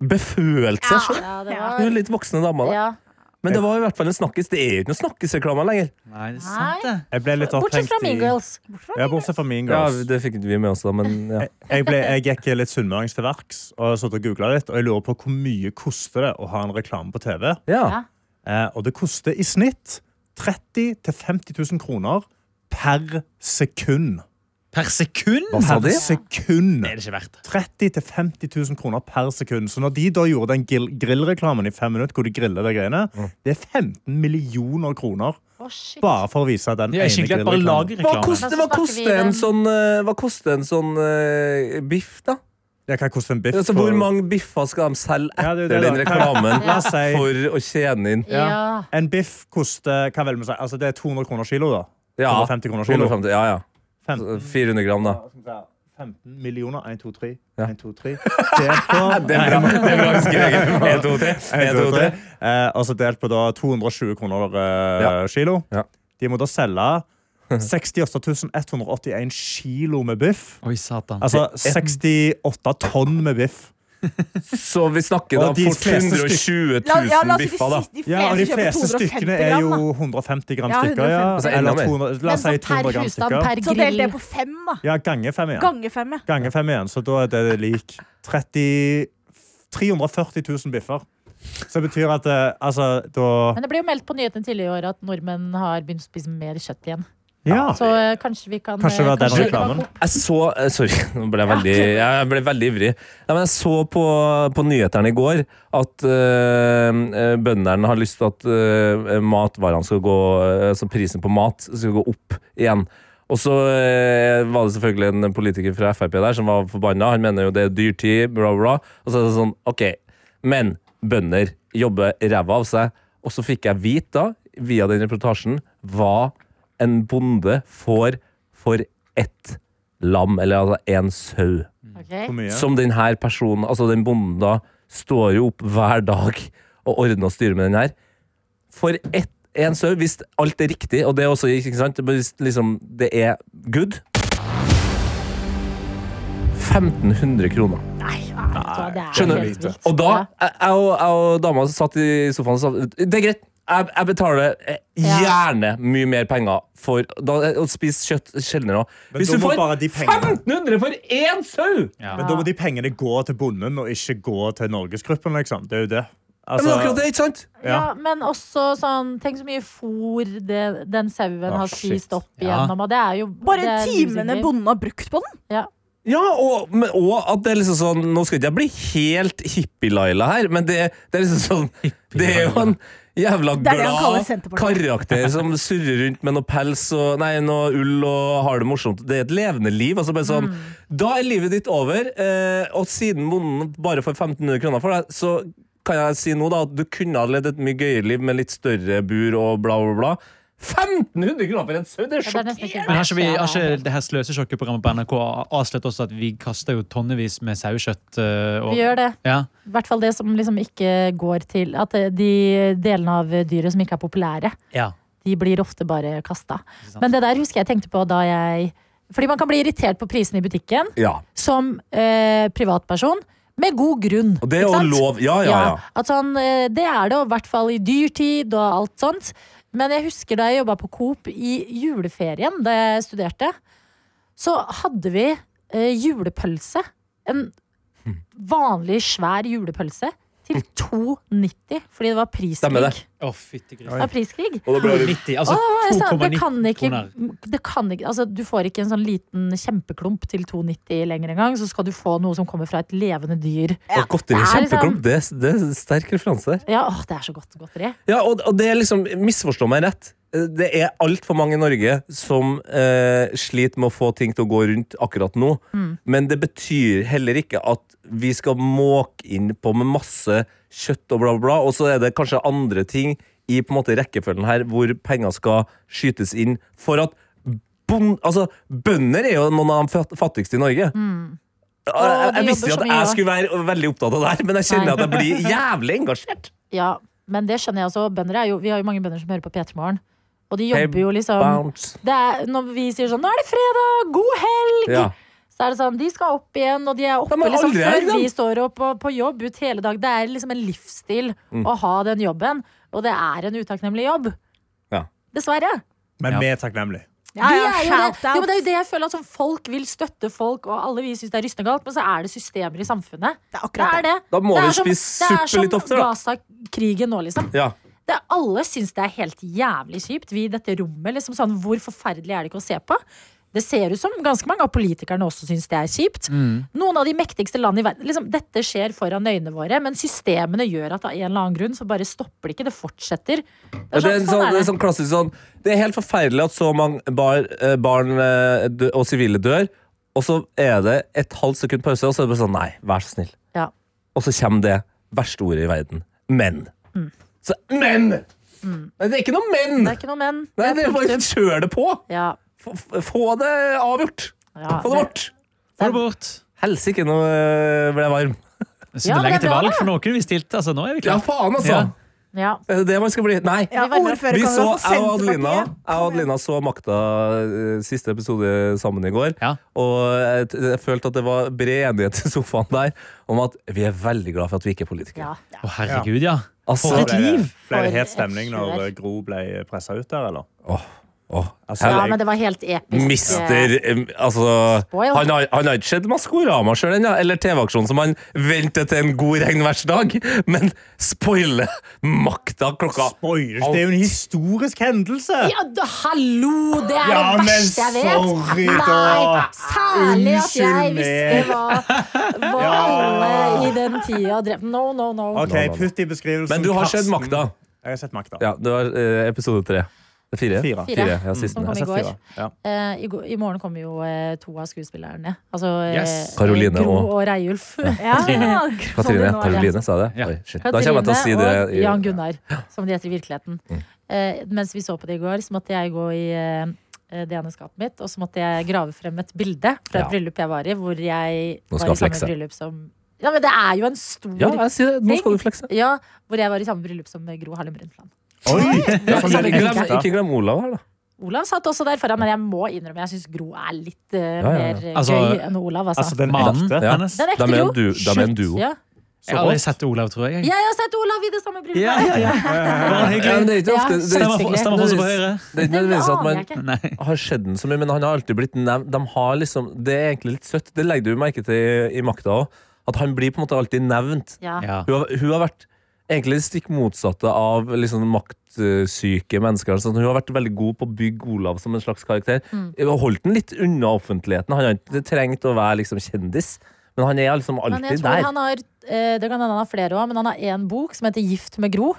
Speaker 7: befølt seg sjøl.
Speaker 3: Ja, det
Speaker 7: Hun
Speaker 3: var
Speaker 7: er litt voksne dama, da.
Speaker 3: ja.
Speaker 7: Men det var i hvert fall en snakkis. Det er jo ikke noen snakkisreklame lenger.
Speaker 6: Nei, det er sant, det.
Speaker 4: Jeg ble litt
Speaker 3: Bortsett fra
Speaker 4: opphengt i
Speaker 3: Mean Girls.
Speaker 4: Ja, bortsett fra Mean
Speaker 7: Ja,
Speaker 4: Girls.
Speaker 7: det fikk vi med oss, da, men ja.
Speaker 4: jeg, ble, jeg gikk litt sunnmøring til verks og satt og googla litt. Og jeg lurer på hvor mye koster det å ha en reklame på TV.
Speaker 7: ja.
Speaker 4: Eh, og det koster i snitt 30 000-50 000 kroner per sekund.
Speaker 6: Per sekund?
Speaker 7: Hva sa
Speaker 4: Per
Speaker 7: de?
Speaker 4: sekund!
Speaker 6: Det er det ikke verdt.
Speaker 4: 30 000-50 000 kroner per sekund. Så når de da gjorde den grill- grillreklamen i fem minutter, hvor de griller det greiene, det er 15 millioner kroner
Speaker 3: Å, shit.
Speaker 4: bare for å vise den
Speaker 6: Det er
Speaker 4: ene
Speaker 6: skikkelig at bare
Speaker 4: grillreklamen.
Speaker 6: lager
Speaker 7: Hva
Speaker 6: reklame.
Speaker 7: koster, hva koster en sånn, eh, hva koster en sånn eh, biff, da?
Speaker 4: Ja, hva koster en biff?
Speaker 7: Altså,
Speaker 4: på-
Speaker 7: hvor mange biffer skal de selge
Speaker 4: Ja,
Speaker 7: etter
Speaker 4: det er jo det,
Speaker 7: den
Speaker 4: da.
Speaker 7: reklamen
Speaker 4: La oss si-
Speaker 7: for å tjene inn?
Speaker 3: Ja.
Speaker 4: En biff koster hva vil vi si? Altså, det er 200 kroner kilo, da.
Speaker 7: Ja,
Speaker 4: 250 kroner kilo.
Speaker 7: 250, ja, ja. Så
Speaker 4: 15,
Speaker 7: 400 gram, da.
Speaker 4: 15 millioner. 1, 2, 3.
Speaker 7: Ja.
Speaker 4: 1, 2, 3. Delt på
Speaker 7: Det er bra. Det er bra. Skrevet. En, to, tre. En, to, tre.
Speaker 4: Eh, altså delt på da 220 kroner eh,
Speaker 7: Ja.
Speaker 4: kilo.
Speaker 7: Ja.
Speaker 4: De må da selge 68 181 kilo med biff.
Speaker 6: Oi, satan.
Speaker 4: Altså 68 tonn med biff.
Speaker 7: Så vi snakker da
Speaker 4: Og de
Speaker 7: fort
Speaker 4: fleste
Speaker 7: 120
Speaker 2: La, ja, la oss
Speaker 7: 000
Speaker 2: si de,
Speaker 7: biffer, da.
Speaker 2: siste- de fleste,
Speaker 4: Ja, og de
Speaker 2: kjøper 250
Speaker 4: fleste stykkene er jo
Speaker 2: gram.
Speaker 4: 150 gram
Speaker 2: Ja,
Speaker 4: stykker. Ja,
Speaker 2: 150.
Speaker 7: Altså,
Speaker 4: Eller
Speaker 7: enda mer.
Speaker 3: Men
Speaker 4: 200, la oss si
Speaker 3: sånn per
Speaker 4: 200 gram
Speaker 3: husstand,
Speaker 4: stykker.
Speaker 3: per
Speaker 2: Så del det
Speaker 3: grill.
Speaker 2: på fem, da.
Speaker 4: Ja, ganger fem igjen.
Speaker 2: Gange fem, ja.
Speaker 4: Ganger fem igjen, så da er det lik 30, 340 000 biffer. Så det betyr at eh, altså, da
Speaker 3: Men det ble jo meldt på nyhetene tidligere i år at nordmenn har begynt å spise mer kjøtt igjen.
Speaker 4: Ja.
Speaker 3: Så eh, kanskje vi kan
Speaker 4: Kanskje det
Speaker 3: eh,
Speaker 4: var den
Speaker 3: kanskje-
Speaker 4: reklamen.
Speaker 7: Jeg så eh, Sorry, nå ble jeg veldig, jeg ble veldig ivrig. Nei, men jeg så på, på nyhetene i går at uh, bøndene har lyst til at eh, matvarene skal gå eh, Altså prisen på mat skal gå opp igjen. Og så eh, var det selvfølgelig en politiker fra Frp der som var forbanna. Han mener jo det er dyrtid, bla, bla. Og så er det sånn, OK. Men bønder jobber ræva av seg. Og så fikk jeg vite, da, via den reportasjen, hva en bonde får for ett lam, eller altså én sau.
Speaker 3: Ok.
Speaker 4: Hvor mye?
Speaker 7: Som den her personen, altså den bonden da, står jo opp hver dag og ordner og styrer med den her. For ett, en sau, hvis alt er riktig, og det er også, ikke sant, men hvis liksom det er good 1500 kroner.
Speaker 3: Nei, vet du hva, det er
Speaker 7: Skjønner.
Speaker 3: helt vilt.
Speaker 7: Og da,
Speaker 3: Ja.
Speaker 7: jeg, jeg, og, jeg og dama satt i sofaen og sa Det er greit, jeg, jeg betaler eh,
Speaker 3: Ja.
Speaker 7: gjerne mye mer penger for da, å spise kjøtt sjeldnere. også.
Speaker 4: Men
Speaker 7: Hvis
Speaker 4: da
Speaker 7: du
Speaker 4: må
Speaker 7: får
Speaker 4: bare de pengene-
Speaker 7: 1500 for én sau!
Speaker 4: Men
Speaker 7: Ah.
Speaker 4: da må de pengene gå til bonden, og ikke gå til Norgesgruppen, liksom. Det er jo det.
Speaker 7: Ja,
Speaker 4: Altså,
Speaker 7: men akkurat det, ikke sant?
Speaker 3: Ja, men også sånn Tenk så mye fôr det, den sauen
Speaker 4: Ah,
Speaker 3: har
Speaker 4: shit.
Speaker 3: spist opp
Speaker 6: Ja.
Speaker 3: igjennom. Og det er jo det
Speaker 2: Bare
Speaker 3: er
Speaker 2: timene
Speaker 3: livsviktig.
Speaker 2: bonden har brukt på den.
Speaker 3: ja.
Speaker 7: Ja, og, men, og at det er liksom sånn Nå skal ikke jeg bli helt hippie-Laila her, men det, det er liksom sånn Det er jo en jævla
Speaker 2: Det er det han kaller
Speaker 7: glad
Speaker 2: Senterpartiet.
Speaker 7: karakter som surrer rundt med noe pels og Nei, noe ull og har det morsomt. Det er et levende liv. Altså bare sånn Da er livet ditt over, eh, og siden bonden bare får 1500 kroner for deg, så kan jeg si nå da at du kunne ha levd et mye gøyere liv med litt større bur og bla, bla, bla. 1500 kroner for en sau! Det er
Speaker 3: Ja, det er nesten ikke-
Speaker 7: sjokkerende!
Speaker 6: Men har ikke, vi, har ikke det her sløsesjokkeprogrammet på NRK avslørt også at vi kaster jo tonnevis med sauekjøtt? eh, og-
Speaker 3: Vi gjør det.
Speaker 6: Ja.
Speaker 3: I hvert fall det som liksom ikke går til At eh, de delene av dyret som ikke er populære,
Speaker 6: ja.
Speaker 3: de blir ofte bare kasta. Men det der husker jeg tenkte på da jeg Fordi man kan bli irritert på prisene i butikken
Speaker 7: Ja.
Speaker 3: som eh, privatperson. Med god grunn.
Speaker 7: Og det er
Speaker 3: ikke
Speaker 7: jo
Speaker 3: sant?
Speaker 7: lov. Ja, ja, ja.
Speaker 3: at sånn, eh, det er det, og i hvert fall i dyrtid og alt sånt. Men jeg husker da jeg jobba på Coop i juleferien, da jeg studerte, så hadde vi
Speaker 7: Hm.
Speaker 3: eh, julepølse. En vanlig svær julepølse til 2,90 fordi det var
Speaker 7: Stemmer
Speaker 3: priskrig.
Speaker 7: det.
Speaker 3: Det
Speaker 6: Å, fytti gris.
Speaker 3: var priskrig.
Speaker 7: Og da ble det
Speaker 6: 90, altså
Speaker 3: Åh, jeg sa, det
Speaker 6: 2,90
Speaker 3: kan ikke,
Speaker 6: kroner.
Speaker 3: det kan ikke altså, Du får ikke en sånn liten kjempeklump til 2,90 lenger engang. Så skal du få noe som kommer fra et levende dyr.
Speaker 7: Og
Speaker 3: Det er
Speaker 7: godteri er
Speaker 3: liksom-
Speaker 7: kjempeklump. Det, er- det er sterk referanse der.
Speaker 3: Ja, åh, det er så godt godteri.
Speaker 7: Ja, og, og det er liksom Misforstå meg rett. Det er altfor mange i Norge som eh, sliter med å få ting til å gå rundt akkurat nå.
Speaker 3: Mm.
Speaker 7: Men det betyr heller ikke at vi skal måke inn på med masse kjøtt og bla, bla, bla. Og så er det kanskje andre ting i på en måte rekkefølgen her hvor penger skal skytes inn for at bon, altså, Bønder er jo noen av de fat- fattigste i Norge. Jeg, jeg,
Speaker 3: Mm. Og de
Speaker 7: jeg visste jo
Speaker 3: jobber
Speaker 7: at
Speaker 3: så mye,
Speaker 7: jeg
Speaker 3: da.
Speaker 7: skulle være veldig opptatt av det her, men jeg kjenner
Speaker 3: Nei.
Speaker 7: at jeg blir jævlig engasjert.
Speaker 3: Ja, men det skjønner jeg også. Bønder er jo, vi har jo mange bønder som hører på P3 Morgen. Og de
Speaker 7: Hey,
Speaker 3: jobber jo liksom
Speaker 7: Bounce.
Speaker 3: det er, Når vi sier sånn 'Nå er det fredag! God helg!'
Speaker 7: Ja.
Speaker 3: Så er det sånn, De skal opp igjen, og de er oppe
Speaker 7: De er
Speaker 3: liksom,
Speaker 7: aldri
Speaker 3: før
Speaker 7: her,
Speaker 3: vi
Speaker 7: de.
Speaker 3: står opp og på jobb ut hele dag. Det er liksom en livsstil
Speaker 7: Mm.
Speaker 3: å ha den jobben. Og det er en utakknemlig jobb.
Speaker 7: Ja.
Speaker 3: Dessverre.
Speaker 4: Men vi er takknemlige.
Speaker 2: Ja,
Speaker 3: Vi
Speaker 2: ja,
Speaker 3: er jo
Speaker 2: shout
Speaker 3: det. Jo, men det er
Speaker 2: outs.
Speaker 3: jo det jeg føler at sånn, folk vil støtte folk, og alle vi syns det er rystende galt, men så er det systemer i samfunnet.
Speaker 2: Det er
Speaker 3: Det
Speaker 2: akkurat
Speaker 3: er det.
Speaker 7: Da må
Speaker 3: det
Speaker 7: vi
Speaker 3: er som-
Speaker 7: spise suppe litt
Speaker 3: Det
Speaker 7: oftere, da.
Speaker 3: er som Gaza-krigen nå, liksom.
Speaker 7: Ja.
Speaker 3: Det, alle syns det er helt jævlig kjipt. Vi i dette rommet, liksom sånn, hvor forferdelig er det ikke å se på? Det ser ut som ganske mange av politikerne også syns det er kjipt.
Speaker 7: Mm.
Speaker 3: Noen av de mektigste land i verden liksom, Dette skjer foran øynene våre, men systemene gjør at av en eller annen grunn så bare stopper det ikke. Det fortsetter. Det er
Speaker 7: Ja, det,
Speaker 3: sånn,
Speaker 7: er en
Speaker 3: sånn
Speaker 7: sånn,
Speaker 3: er
Speaker 7: det
Speaker 3: det.
Speaker 7: er sånn klassisk sånn Det er helt forferdelig at så mange bar, eh, barn eh, dø, og sivile dør, og så er det et halvt sekund pause, og så er det bare sånn Nei, vær så snill.
Speaker 3: Ja.
Speaker 7: Og så kommer det verste ordet i verden. Men. Så, men! Nei, det er ikke noe
Speaker 3: Mm.
Speaker 7: men!
Speaker 3: Det er ikke noe men.
Speaker 7: Nei, det er bare
Speaker 3: punktum.
Speaker 7: kjør det på!
Speaker 3: ja,
Speaker 7: Få, få det avgjort!
Speaker 3: ja,
Speaker 7: Få det bort!
Speaker 6: Få det bort.
Speaker 7: Helsike, nå eh, ble jeg varm.
Speaker 6: Så
Speaker 3: Ja,
Speaker 6: det er
Speaker 3: men
Speaker 6: lenge
Speaker 3: det er
Speaker 6: til
Speaker 3: bra,
Speaker 6: valg for noen vi stilte. Altså, nå er vi
Speaker 7: Ja,
Speaker 6: klare.
Speaker 7: faen, altså!
Speaker 6: Ja.
Speaker 3: ja.
Speaker 7: Er det det man skal bli? Nei.
Speaker 2: Ja,
Speaker 3: Vi var nødt-
Speaker 2: ordfører
Speaker 7: Vi
Speaker 2: kan
Speaker 7: så,
Speaker 2: jo få
Speaker 7: jeg og Adelina,
Speaker 2: Senterpartiet.
Speaker 7: jeg og Adelina så Makta eh, siste episode sammen i går.
Speaker 6: Ja.
Speaker 7: Og jeg, t- jeg følte at det var bred enighet i sofaen der om at vi er veldig glad for at vi ikke er politikere.
Speaker 3: ja.
Speaker 6: Å, herregud, ja.
Speaker 7: Altså,
Speaker 6: For et liv!
Speaker 4: Ble
Speaker 3: For
Speaker 4: det het
Speaker 3: et
Speaker 4: stemning
Speaker 3: kjør.
Speaker 4: når Gro ble pressa ut der, eller?
Speaker 7: Åh,
Speaker 4: Altså,
Speaker 3: ja,
Speaker 4: jeg-
Speaker 3: men det var helt episk. eh,
Speaker 7: Mister em, Altså,
Speaker 3: Spoil.
Speaker 7: han har, han har ikke sett Maskorama sjøl ennå, eller TV-aksjonen som han venter til en god regnværsdag, men spoiler makta klokka
Speaker 4: Spoilers, det er jo en historisk hendelse!
Speaker 3: Ja, da, hallo! Det er
Speaker 4: Ja,
Speaker 3: det
Speaker 4: men
Speaker 3: verste jeg vet!
Speaker 4: sorry,
Speaker 3: Nei,
Speaker 4: da.
Speaker 3: særlig at jeg
Speaker 4: Unnskyld
Speaker 3: visste
Speaker 4: meg.
Speaker 3: hva, hva alle i den tida drev No, no, no.
Speaker 4: OK, putt i beskrivelsen.
Speaker 7: Men du har sett
Speaker 4: Karsten.
Speaker 7: Makta.
Speaker 4: Jeg har sett Makta.
Speaker 7: Ja, det var eh, episode tre. Fire?
Speaker 4: Fire.
Speaker 3: Fire.
Speaker 7: Fire, ja, siste.
Speaker 3: Som kom i
Speaker 4: Jeg har
Speaker 3: går.
Speaker 4: sett fire. Ja.
Speaker 3: Eh, i, går- I morgen kommer jo eh, to av skuespillerne. Altså
Speaker 6: Yes.
Speaker 3: eh,
Speaker 7: Caroline
Speaker 3: Gro
Speaker 7: og-
Speaker 3: og, Reiulf.
Speaker 2: Ja,
Speaker 7: Katrine,
Speaker 2: sånn det nå er.
Speaker 7: Karoline, sa jeg det?
Speaker 6: Ja.
Speaker 7: Oi, shit. Da kommer
Speaker 3: Katrine
Speaker 7: jeg til å si det.
Speaker 3: og
Speaker 7: i- Mm.
Speaker 3: Jan Gunnar, som de heter i virkeligheten. Eh, mens vi så på det i går, så måtte jeg gå i eh, det ene skapet mitt, og så måtte jeg grave frem et bilde fra et
Speaker 7: Ja.
Speaker 3: bryllup jeg var i, hvor jeg
Speaker 7: Nå
Speaker 3: var
Speaker 7: skal
Speaker 3: i samme
Speaker 7: flekse.
Speaker 3: bryllup som Ja, men det er jo en stor
Speaker 7: Ja, jeg sier det. Nå skal du flekse.
Speaker 3: Ja, hvor jeg var i samme bryllup som Gro Harlem Brundtland.
Speaker 4: Oi! Det
Speaker 7: Ikke
Speaker 4: er sånn det er
Speaker 7: glem,
Speaker 4: ekte.
Speaker 7: ikke glem Olav her, da.
Speaker 3: Olav satt også der foran, men jeg må innrømme jeg syns Gro er litt eh,
Speaker 7: ja, ja.
Speaker 3: mer eh,
Speaker 6: Altså,
Speaker 3: gøy enn Olav. Altså.
Speaker 4: Altså, den
Speaker 6: Mannen
Speaker 4: ekte.
Speaker 7: Ja.
Speaker 6: hennes.
Speaker 3: den
Speaker 7: De
Speaker 3: ekte
Speaker 7: er
Speaker 3: Gro.
Speaker 7: en, du, de er en duo.
Speaker 3: Ja.
Speaker 6: Jeg har aldri sett Olav, tror jeg.
Speaker 3: Jeg har sett Olav i det samme bryllupet!
Speaker 6: Ja, ja, ja.
Speaker 7: Ja,
Speaker 6: Bare
Speaker 7: men
Speaker 6: hyggelig.
Speaker 7: det er ikke ofte det er
Speaker 6: Stemmer
Speaker 7: ikke-
Speaker 6: for- stemmer for oss på høyre.
Speaker 7: det er ikke nødvendigvis at
Speaker 3: aner
Speaker 7: man
Speaker 3: jeg ikke.
Speaker 6: Nei.
Speaker 7: har skjedd den så mye, men han har alltid blitt nevnt. De har liksom, det er egentlig litt søtt. Det legger du merke til i, i makta òg. At han blir på en måte alltid nevnt.
Speaker 3: Ja.
Speaker 6: Ja.
Speaker 7: Hun har, hun har vært egentlig det stikk motsatte av liksom maktsyke mennesker. Sånn. Hun har vært veldig god på å bygge Olav som en slags karakter. Hun har Holdt den litt unna offentligheten. Han har ikke trengt å være liksom kjendis, men han er liksom
Speaker 3: Men jeg
Speaker 7: alltid
Speaker 3: tror
Speaker 7: der.
Speaker 3: han har eh, Det kan hende han har flere òg, men han har én bok som heter 'Gift med Gro'.